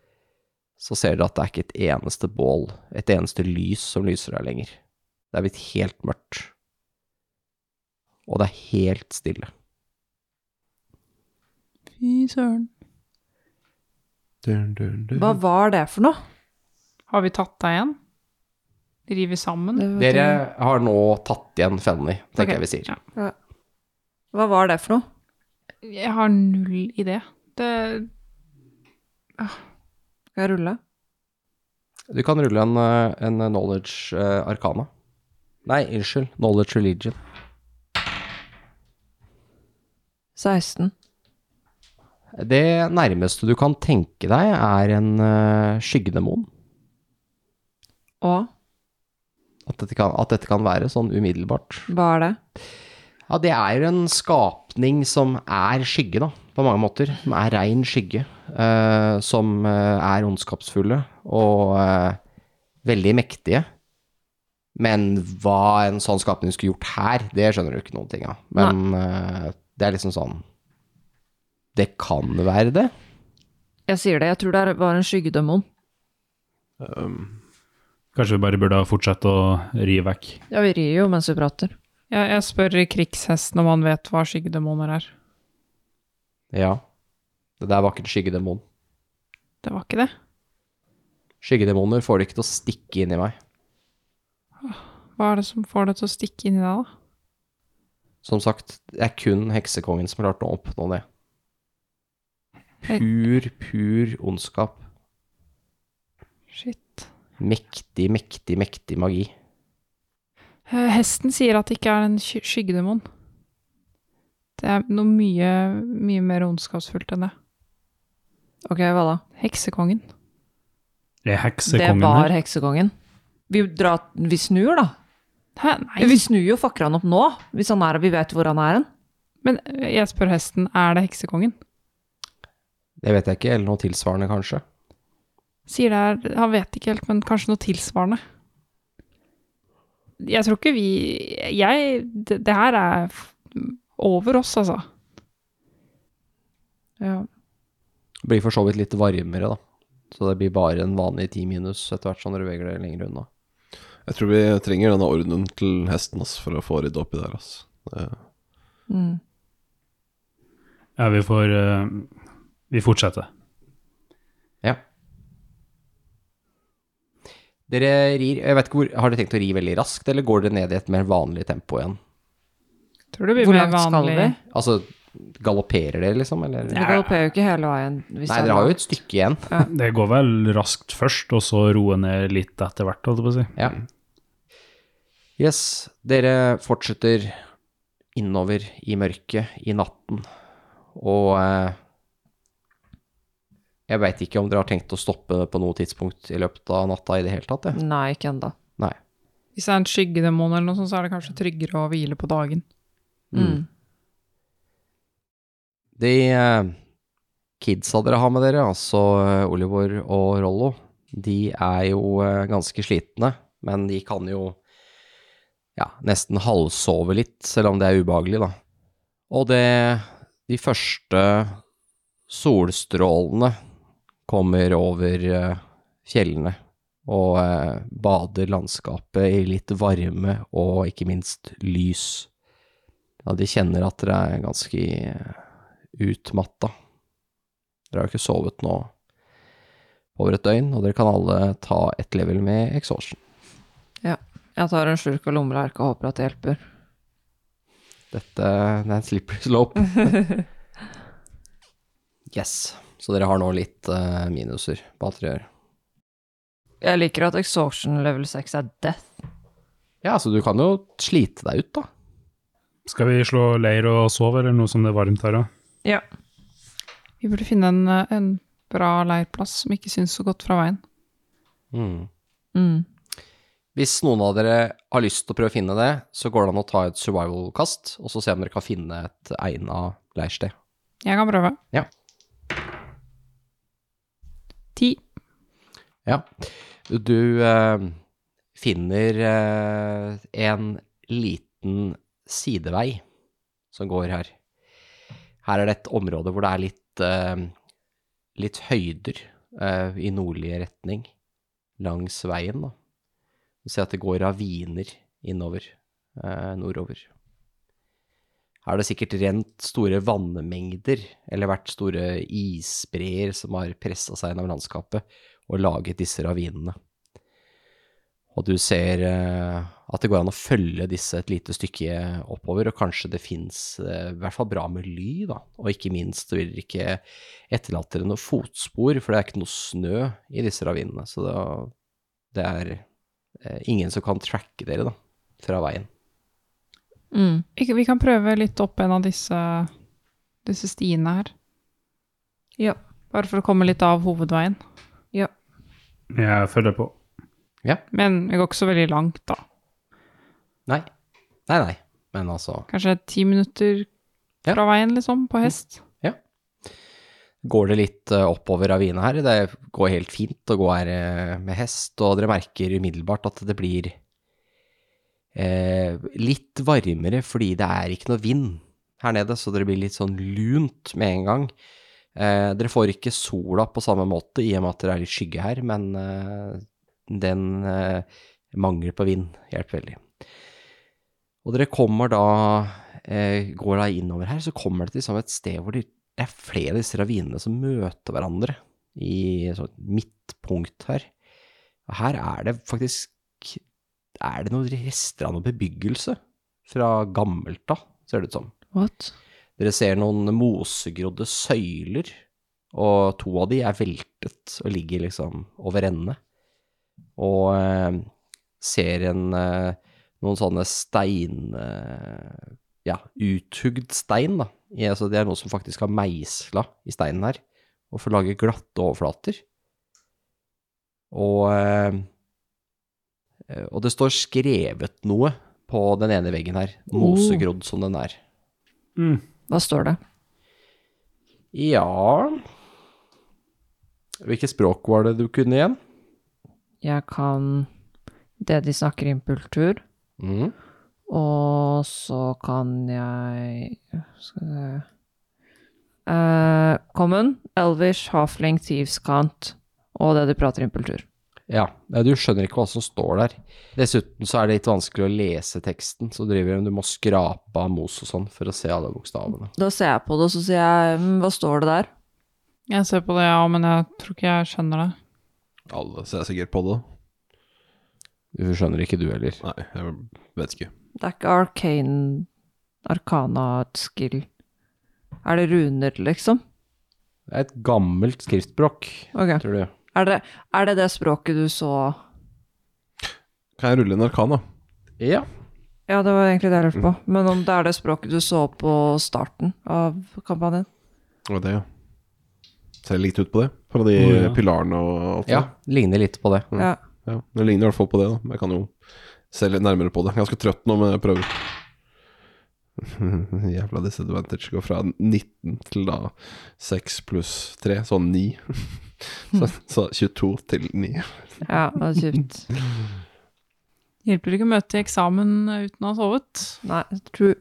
Speaker 2: så ser dere at det er ikke et eneste bål, et eneste lys som lyser der lenger. Det er blitt helt mørkt. Og det er helt stille.
Speaker 3: Fy søren.
Speaker 6: dun, dun, dun.
Speaker 4: Hva var det for noe?
Speaker 3: Har vi tatt deg igjen? Rir vi sammen?
Speaker 4: Det vet
Speaker 2: Dere
Speaker 4: jeg.
Speaker 2: har nå tatt igjen Fenny, tenker
Speaker 3: Ok,
Speaker 2: jeg vi sier.
Speaker 3: ja.
Speaker 4: Hva var det for noe?
Speaker 3: Jeg har null idé. Det
Speaker 4: Skal jeg rulle?
Speaker 2: Du kan rulle en, eh, en knowledge eh, arcana. Nei, unnskyld. Knowledge religion.
Speaker 4: 16.
Speaker 2: Det nærmeste du kan tenke deg, er en uh, skyggedemon.
Speaker 4: Og
Speaker 2: At dette, kan, at dette kan være sånn umiddelbart.
Speaker 4: hva er det?
Speaker 2: Ja, det er en skap... skapning som er skygge, da, på mange måter. Som er rein skygge. eh, som eh, er ondskapsfulle og eh, veldig mektige. Men hva en sånn skapning skulle gjort her, det skjønner du ikke noen ting av. Men eh, det er liksom sånn Det kan være det.
Speaker 4: Jeg sier det, jeg tror det var en skyggedemon.
Speaker 5: Kanskje vi bare burde fortsette å ri vekk.
Speaker 4: Ja, vi rir jo mens vi prater.
Speaker 7: Jeg, jeg spør krigshesten om han vet hva skyggedemoner er.
Speaker 2: Ja. Det der var ikke en skyggedemon.
Speaker 7: Det var ikke det.
Speaker 2: Skyggedemoner får det ikke til å stikke inn i meg.
Speaker 7: Hva er det som får det til å stikke inn i deg, da?
Speaker 2: Som sagt, det er kun heksekongen som klarte å oppnå det.
Speaker 7: Hei.
Speaker 2: Pur, pur ondskap.
Speaker 7: Shit.
Speaker 2: Mektig, mektig, mektig magi.
Speaker 7: Eh, Hesten sier at det ikke er en sky skyggedemon. Det er noe mye, mye mer ondskapsfullt enn det.
Speaker 4: Ok, hva da?
Speaker 7: Heksekongen.
Speaker 5: Er
Speaker 4: Det
Speaker 5: heksekongen
Speaker 4: var
Speaker 5: her?
Speaker 4: heksekongen. Vi, drar, vi snur, da.
Speaker 7: Hæ, nei.
Speaker 4: Vi snur jo fakkeren opp nå, hvis han er, vi vet hvor han er hen.
Speaker 7: Men eh, jeg spør hesten, er det heksekongen?
Speaker 2: Det vet jeg ikke, eller noe tilsvarende kanskje.
Speaker 7: Sier det er Han vet ikke helt, men kanskje noe tilsvarende. Jeg tror ikke vi Jeg Det, det her er f- over oss, altså.
Speaker 4: Ja.
Speaker 2: Det blir for så vidt litt varmere, da. Så det blir bare en vanlig ti minus etter hvert som dere beveger dere lenger unna.
Speaker 6: Jeg tror vi trenger denne ordenen til hesten ass, for å få rydda opp i altså. det her. Ass. Det-
Speaker 4: Mm.
Speaker 5: Ja, vi får eh, Vi fortsetter.
Speaker 2: Ja. Dere rir Jeg vet ikke hvor Har dere tenkt å ri veldig raskt, eller går dere ned i et mer vanlig tempo igjen?
Speaker 7: Tror det blir
Speaker 4: Hvor
Speaker 7: mer
Speaker 4: langt skal
Speaker 7: vanlig.
Speaker 4: vi?
Speaker 2: Altså, galopperer dere, liksom? Eller?
Speaker 4: Vi galopperer jo ikke hele veien. Hvis
Speaker 2: Nei, dere har jo et stykke igjen.
Speaker 5: Det går vel raskt først, og så roe ned litt etter hvert, holdt jeg på å si.
Speaker 2: Ja. Yes, dere fortsetter innover i mørket, i natten, og eh, jeg veit ikke om dere har tenkt å stoppe på noe tidspunkt i løpet av natta i det hele tatt. jeg.
Speaker 4: Nei, ikke ennå.
Speaker 2: Nei.
Speaker 7: Hvis det er en skyggedemon eller noe sånt, så er det kanskje tryggere å hvile på dagen.
Speaker 4: Mm.
Speaker 2: De eh, kidsa dere har med dere, altså eh, Oliver og Rollo, de er jo eh, ganske slitne, men de kan jo ja, nesten halvsove litt, selv om det er ubehagelig, da. Og det De første solstrålene kommer over eh, fjellene og eh, bader landskapet i litt varme og ikke minst lys. Ja, de kjenner at dere er ganske eh, utmatta. Dere har jo ikke sovet nå over et døgn, og dere kan alle ta ett level med exhaustion.
Speaker 4: Jeg tar en slurk av lommelerke og håper at det hjelper.
Speaker 2: Dette det er en slippery slope. yes. Så dere har nå litt eh, minuser på alt dere gjør.
Speaker 4: Jeg liker at exhaustion level 6 er death.
Speaker 2: Ja, så du kan jo slite deg ut, da.
Speaker 5: Skal vi slå leir og sove, eller noe som det er varmt her òg?
Speaker 4: Ja.
Speaker 7: Vi burde finne en, eh, en bra leirplass som ikke syns så godt fra veien.
Speaker 4: Mm.
Speaker 2: Hvis noen av dere har lyst til å prøve å finne det, så går det an å ta et survival-kast, og så se om dere kan finne et egna leirsted.
Speaker 7: Jeg kan prøve.
Speaker 2: Ja.
Speaker 7: Ti.
Speaker 2: Ja. Du eh, finner eh, en liten sidevei som går her. Her er det et område hvor det er litt, eh, litt høyder eh, i nordlig retning langs veien. Da. Du ser at det går raviner innover, eh, nordover. Her har det sikkert rent store vannmengder, eller vært store isbreer som har pressa seg gjennom landskapet og laget disse ravinene. Og du ser eh, at det går an å følge disse et lite stykke oppover, og kanskje det fins i hvert fall bra med ly, da. Og ikke minst vil dere ikke etterlate dere noen fotspor, for det er ikke noe snø i disse ravinene. Så det, det er eh, ingen som kan tracke dere, da, fra veien.
Speaker 4: Mm.
Speaker 7: Ikke- Vi kan prøve litt opp en av disse, disse stiene her.
Speaker 4: Ja.
Speaker 7: Bare for å komme litt av hovedveien.
Speaker 5: Jeg følger på.
Speaker 7: Men vi går ikke så veldig langt, da.
Speaker 2: Nei, nei, nei. Men altså
Speaker 7: Kanskje ti minutter,
Speaker 2: Ja.
Speaker 7: fra veien, liksom, på hest.
Speaker 2: Går det litt eh, oppover ravine her? Det går helt fint å gå her eh, med hest, og dere merker umiddelbart at det blir eh, litt varmere fordi det er ikke noe vind her nede, så dere blir litt sånn lunt med en gang. Eh, dere får ikke sola på samme måte i og med at det er litt skygge her, men eh, den eh, mangel på vind hjelper veldig. Og dere kommer da, eh, går da innover her, så kommer det til liksom et sted hvor de det er flere av disse ravinene som møter hverandre i et sånt midtpunkt her. Og her er det faktisk Er det noen rester av noe bebyggelse fra gammelt av, ser det ut som.
Speaker 4: What?
Speaker 2: Dere ser noen mosegrodde søyler, og to av de er veltet og ligger liksom over ende. Og eh, ser en, eh, noen sånne stein... Eh, ja, uthugd stein, da. I- Altså, det er noe som faktisk har meisla i steinen her, og får lage glatte overflater. Og, eh, og det står skrevet noe på den ene veggen her, mosegrodd som den er.
Speaker 5: Mm.
Speaker 4: Hva står det?
Speaker 2: Ja Hvilket språk var det du kunne igjen?
Speaker 4: Jeg kan det de snakker i impultur,
Speaker 2: Mm.
Speaker 4: og så kan jeg Skal vi se Eh, Common, Elvish, Halfling, Thieveskant og det de prater i impultur.
Speaker 2: Ja, nei, du skjønner ikke hva som står der. Dessuten så er det litt vanskelig å lese teksten, så driver du må skrape av mos og sånn for å se alle bokstavene.
Speaker 4: Da ser jeg på det, og så sier jeg «Hm, hva står det der?
Speaker 7: Jeg ser på det, ja, men jeg tror ikke jeg skjønner det.
Speaker 6: Alle ser sikkert på det.
Speaker 2: Du skjønner ikke du heller.
Speaker 6: Nei, jeg vet ikke.
Speaker 4: Det er ikke arcane Arcana skill. Er det runer, liksom?
Speaker 2: Det er et gammelt skriftspråk,
Speaker 4: Ok.
Speaker 2: tror du.
Speaker 4: Er det er det, det språket du så
Speaker 6: Kan jeg rulle en arkan, da?
Speaker 2: Ja.
Speaker 4: Ja, det var egentlig det jeg lurte på. Mm. Men om det er det språket du så på starten av kampanjen?
Speaker 6: Og det, ja. Ser likt ut på det. Fra de
Speaker 5: Å, ja.
Speaker 6: pilarene og alt
Speaker 2: ja. Ligner litt på det.
Speaker 6: Mm.
Speaker 4: Ja.
Speaker 6: det. Ja, det ligner i hvert fall på det, da. Men Jeg kan jo se litt nærmere på det. Jeg er ganske trøtt nå, men jeg prøver. Jævla disadvantage går fra 19 til da 6 pluss 3, så 9. så, så 22 til 9.
Speaker 4: ja, det var kjipt.
Speaker 7: Hjelper ikke å møte til eksamen uten å ha sovet.
Speaker 4: Nei, true.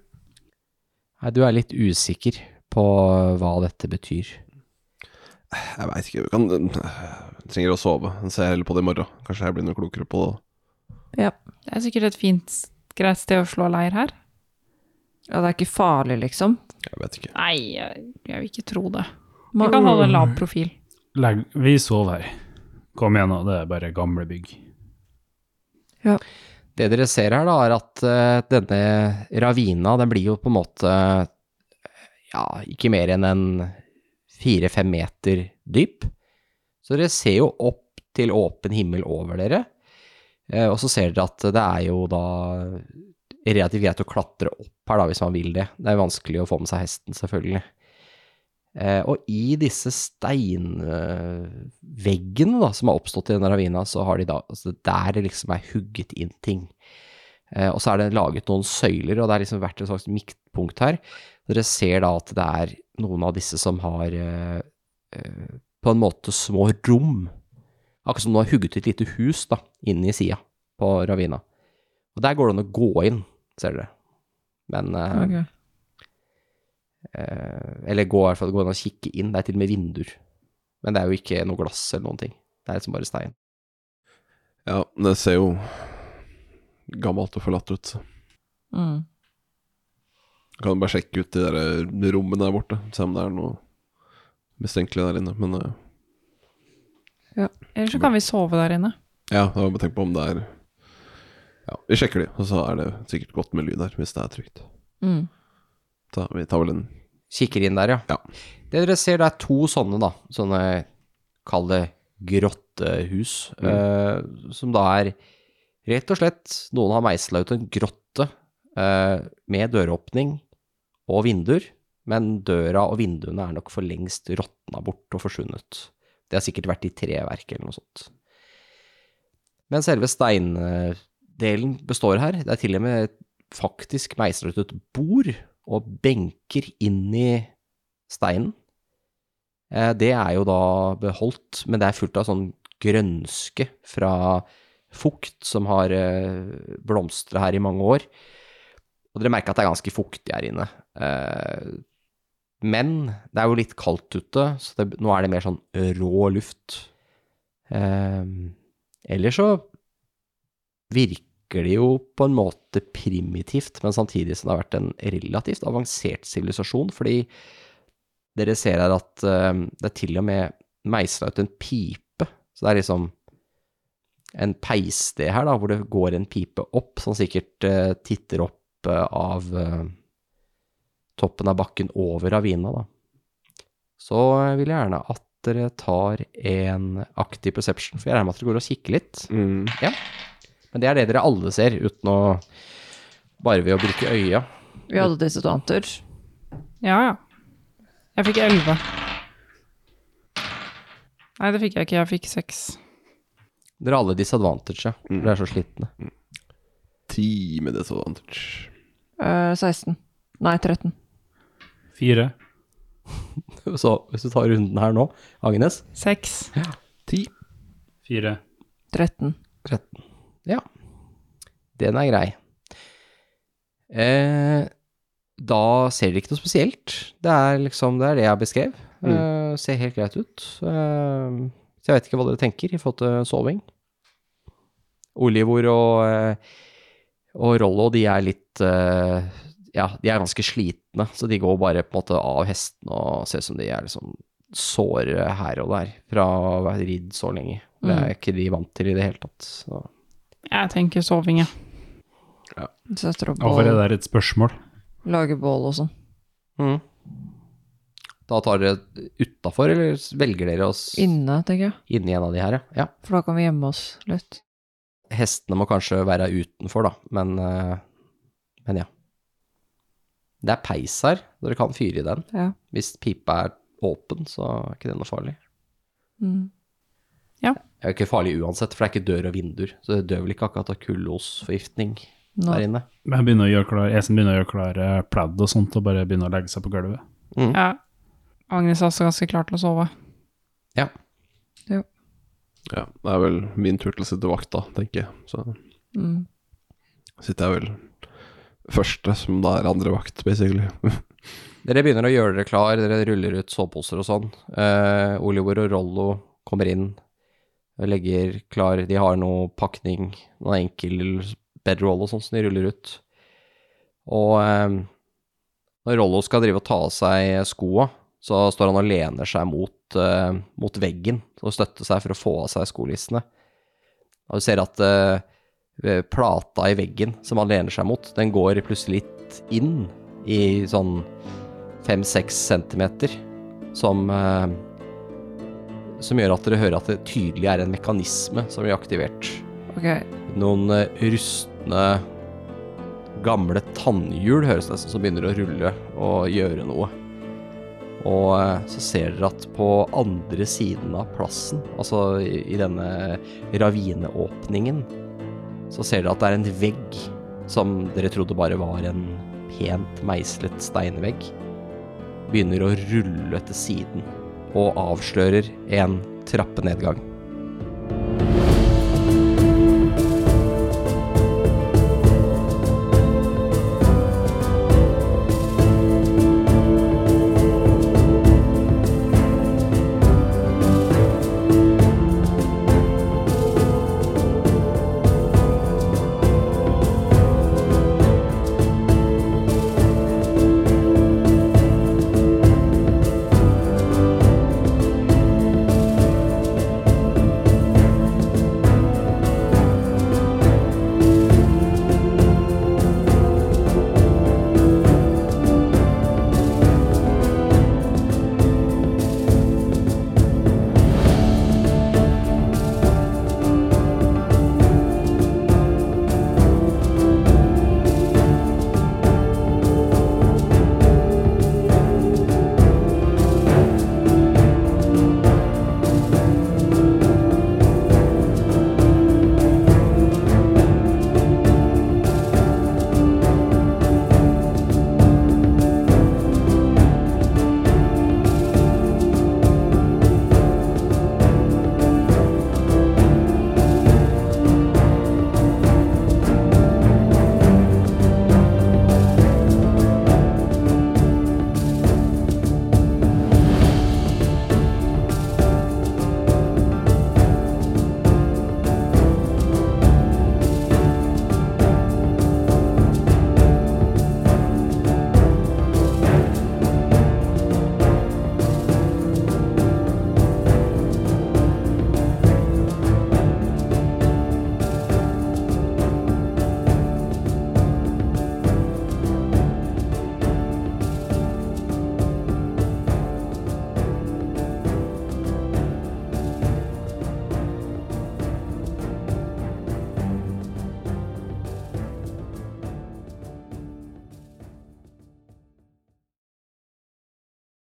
Speaker 2: Nei, du er litt usikker på hva dette betyr.
Speaker 6: Jeg veit ikke, vi kan jeg Trenger å sove. Jeg ser heller på det i morgen. Kanskje jeg blir noe klokere på det.
Speaker 7: Det er sikkert et fint, greit sted å slå leir her.
Speaker 4: Ja, det er ikke farlig, liksom.
Speaker 6: Jeg vet ikke.
Speaker 7: Nei, jeg, jeg vil ikke tro det.
Speaker 4: Man-
Speaker 7: Man kan holde en lav profil.
Speaker 5: Legg, vi sover her. Kom igjen, nå. Det er bare gamle bygg.
Speaker 2: Det dere ser her, da, er at eh, denne ravina, den blir jo på en måte Ja, ikke mer enn en fire-fem meter dyp. Så dere ser jo opp til åpen himmel over dere. Eh, Og så ser dere at det er jo da relativt greit å klatre opp her, da, hvis man vil det. Det er vanskelig å få med seg hesten, selvfølgelig. Eh, Og i disse steinveggene da, som har oppstått i denne ravina, så har de da altså det er Der det liksom er hugget inn ting. Eh, Og så er det laget noen søyler, og det har liksom vært et slags midtpunkt her. Dere ser da at det er noen av disse som har eh, eh, på en måte små rom. Akkurat som du har hugget et lite hus da, inne i sida på ravina. Og der går det an å gå inn, ser dere. Men eh,
Speaker 4: Ok.
Speaker 2: Eh, eller gå, i hvert fall, gå inn og kikke inn. Det er til og med vinduer. Men det er jo ikke noe glass eller noen ting. Det er liksom bare stein.
Speaker 6: Ja, det ser jo gammelt og forlatt ut.
Speaker 4: Mm.
Speaker 6: Jeg kan bare sjekke ut de der rommene der borte, se om det er noe mistenkelig der inne. Men eh,
Speaker 7: Eller så kan vi sove der inne.
Speaker 6: ja, jeg har bare tenkt på om det er Ja, vi sjekker de, og så er det sikkert godt med lyd her, hvis det er trygt.
Speaker 4: Mm.
Speaker 6: Ta, vi tar vel en
Speaker 2: Kikker inn der, ja.
Speaker 6: Ja.
Speaker 2: Det dere ser, det er to sånne, da. Sånne, kall det grottehus. eh, som da er rett og slett Noen har meisla ut en grotte eh, med døråpning og vinduer. Men døra og vinduene er nok for lengst råtna bort og forsvunnet. Det har sikkert vært i treverk eller noe sånt. Men selve steindelen består her. Det er til og med faktisk meislet ut et bord og benker inn i steinen. Eh, Det er jo da beholdt, men det er fullt av sånn grønske fra fukt som har blomstra her i mange år. Og dere merker at det er ganske fuktig her inne. Eh, Men det er jo litt kaldt ute, så det, nå er det mer sånn rå luft. Eh, Ellers så virker det jo på en måte primitivt, men samtidig som det har vært en relativt avansert sivilisasjon, fordi dere ser her at eh, det er til og med meisla ut en pipe, så det er liksom en peissted her da, hvor det går en pipe opp, som sikkert eh, titter opp eh, av eh, toppen av bakken over ravina da. Så jeg vil gjerne at dere tar en aktiv perception, for jeg regner med at dere går og kikker litt. Ja. Men det er det dere alle ser, uten å bare ved å bruke øya.
Speaker 4: Vi hadde disadvanter.
Speaker 7: Ja, ja. Jeg fikk 11. Nei, det fikk jeg ikke. Jeg fikk 6.
Speaker 2: Dere har alle disadvantage, for dere er så slitne.
Speaker 6: Ti med disadvantage.
Speaker 4: Eh, 16. Nei, 13.
Speaker 5: Fire.
Speaker 2: Så hvis du tar runden her nå, Agnes
Speaker 7: 6.
Speaker 5: Fire.
Speaker 4: 13.
Speaker 2: Den er grei. Eh, da ser dere ikke noe spesielt. Det er liksom det, er det jeg beskrev. Eh, ser helt greit ut. Eh, så jeg vet ikke hva dere tenker i forhold til soving. Olivor og, eh, og Rollo, de er litt eh, Ja, de er ganske slitne, så de går bare på en måte av hestene og ser ut som de er liksom såre her og der fra å ha ridd så lenge. Det er ikke de vant til i det hele tatt. Så.
Speaker 7: Jeg tenker soving, jeg.
Speaker 4: Setter opp
Speaker 5: Hvorfor er
Speaker 4: bål,
Speaker 5: det et spørsmål?
Speaker 4: lager bål og sånn.
Speaker 2: Mm. Da tar dere utafor, eller velger dere oss inn.
Speaker 4: Inne, tenker jeg.
Speaker 2: i en av de her, ja? ja?
Speaker 4: For da kan vi gjemme oss litt.
Speaker 2: Hestene må kanskje være utenfor, da, men, eh, men ja. Det er peis her, dere kan fyre i den.
Speaker 4: Ja.
Speaker 2: Hvis pipa er åpen, så er ikke det noe farlig.
Speaker 4: Mm.
Speaker 2: Det er jo ikke farlig uansett, for det er ikke dør og vinduer, så det dør vel ikke akkurat av kullosforgiftning
Speaker 4: Nå,
Speaker 2: der inne.
Speaker 5: Men jeg begynner å gjøre klar, Esen begynner å gjøre klar eh, pledd og sånt, og bare begynner å legge seg på gulvet.
Speaker 7: Ja. Agnes er også ganske klar til å sove.
Speaker 6: Ja, det er vel min tur til å sitte vakt, da, tenker jeg. Så
Speaker 4: mm.
Speaker 6: sitter jeg vel første, som da er andre vakt, basically.
Speaker 2: Dere begynner å gjøre dere klar, dere ruller ut soveposer og sånn. Eh, Oliver og Rollo kommer inn, legger klar, de har noe pakning, noen enkel bedroll og sånn som de ruller ut. Og eh, når Rollo skal drive og ta av seg skoa, så står han og lener seg mot, eh, mot veggen og støtter seg for å få av seg skolissene. Og du ser at eh, plata i veggen som han lener seg mot, den går plutselig litt inn i sånn fem-seks centimeter, som eh, Som gjør at dere hører at det tydelig er en mekanisme som blir aktivert.
Speaker 4: Ok,
Speaker 2: Noen eh, rustne, gamle tannhjul høres det ut som, som begynner å rulle og gjøre noe. Og eh, så ser dere at på andre siden av plassen, altså i, i denne ravineåpningen, så ser dere at det er en vegg som dere trodde bare var en pent meislet steinvegg, begynner å rulle til siden og avslører en trappenedgang.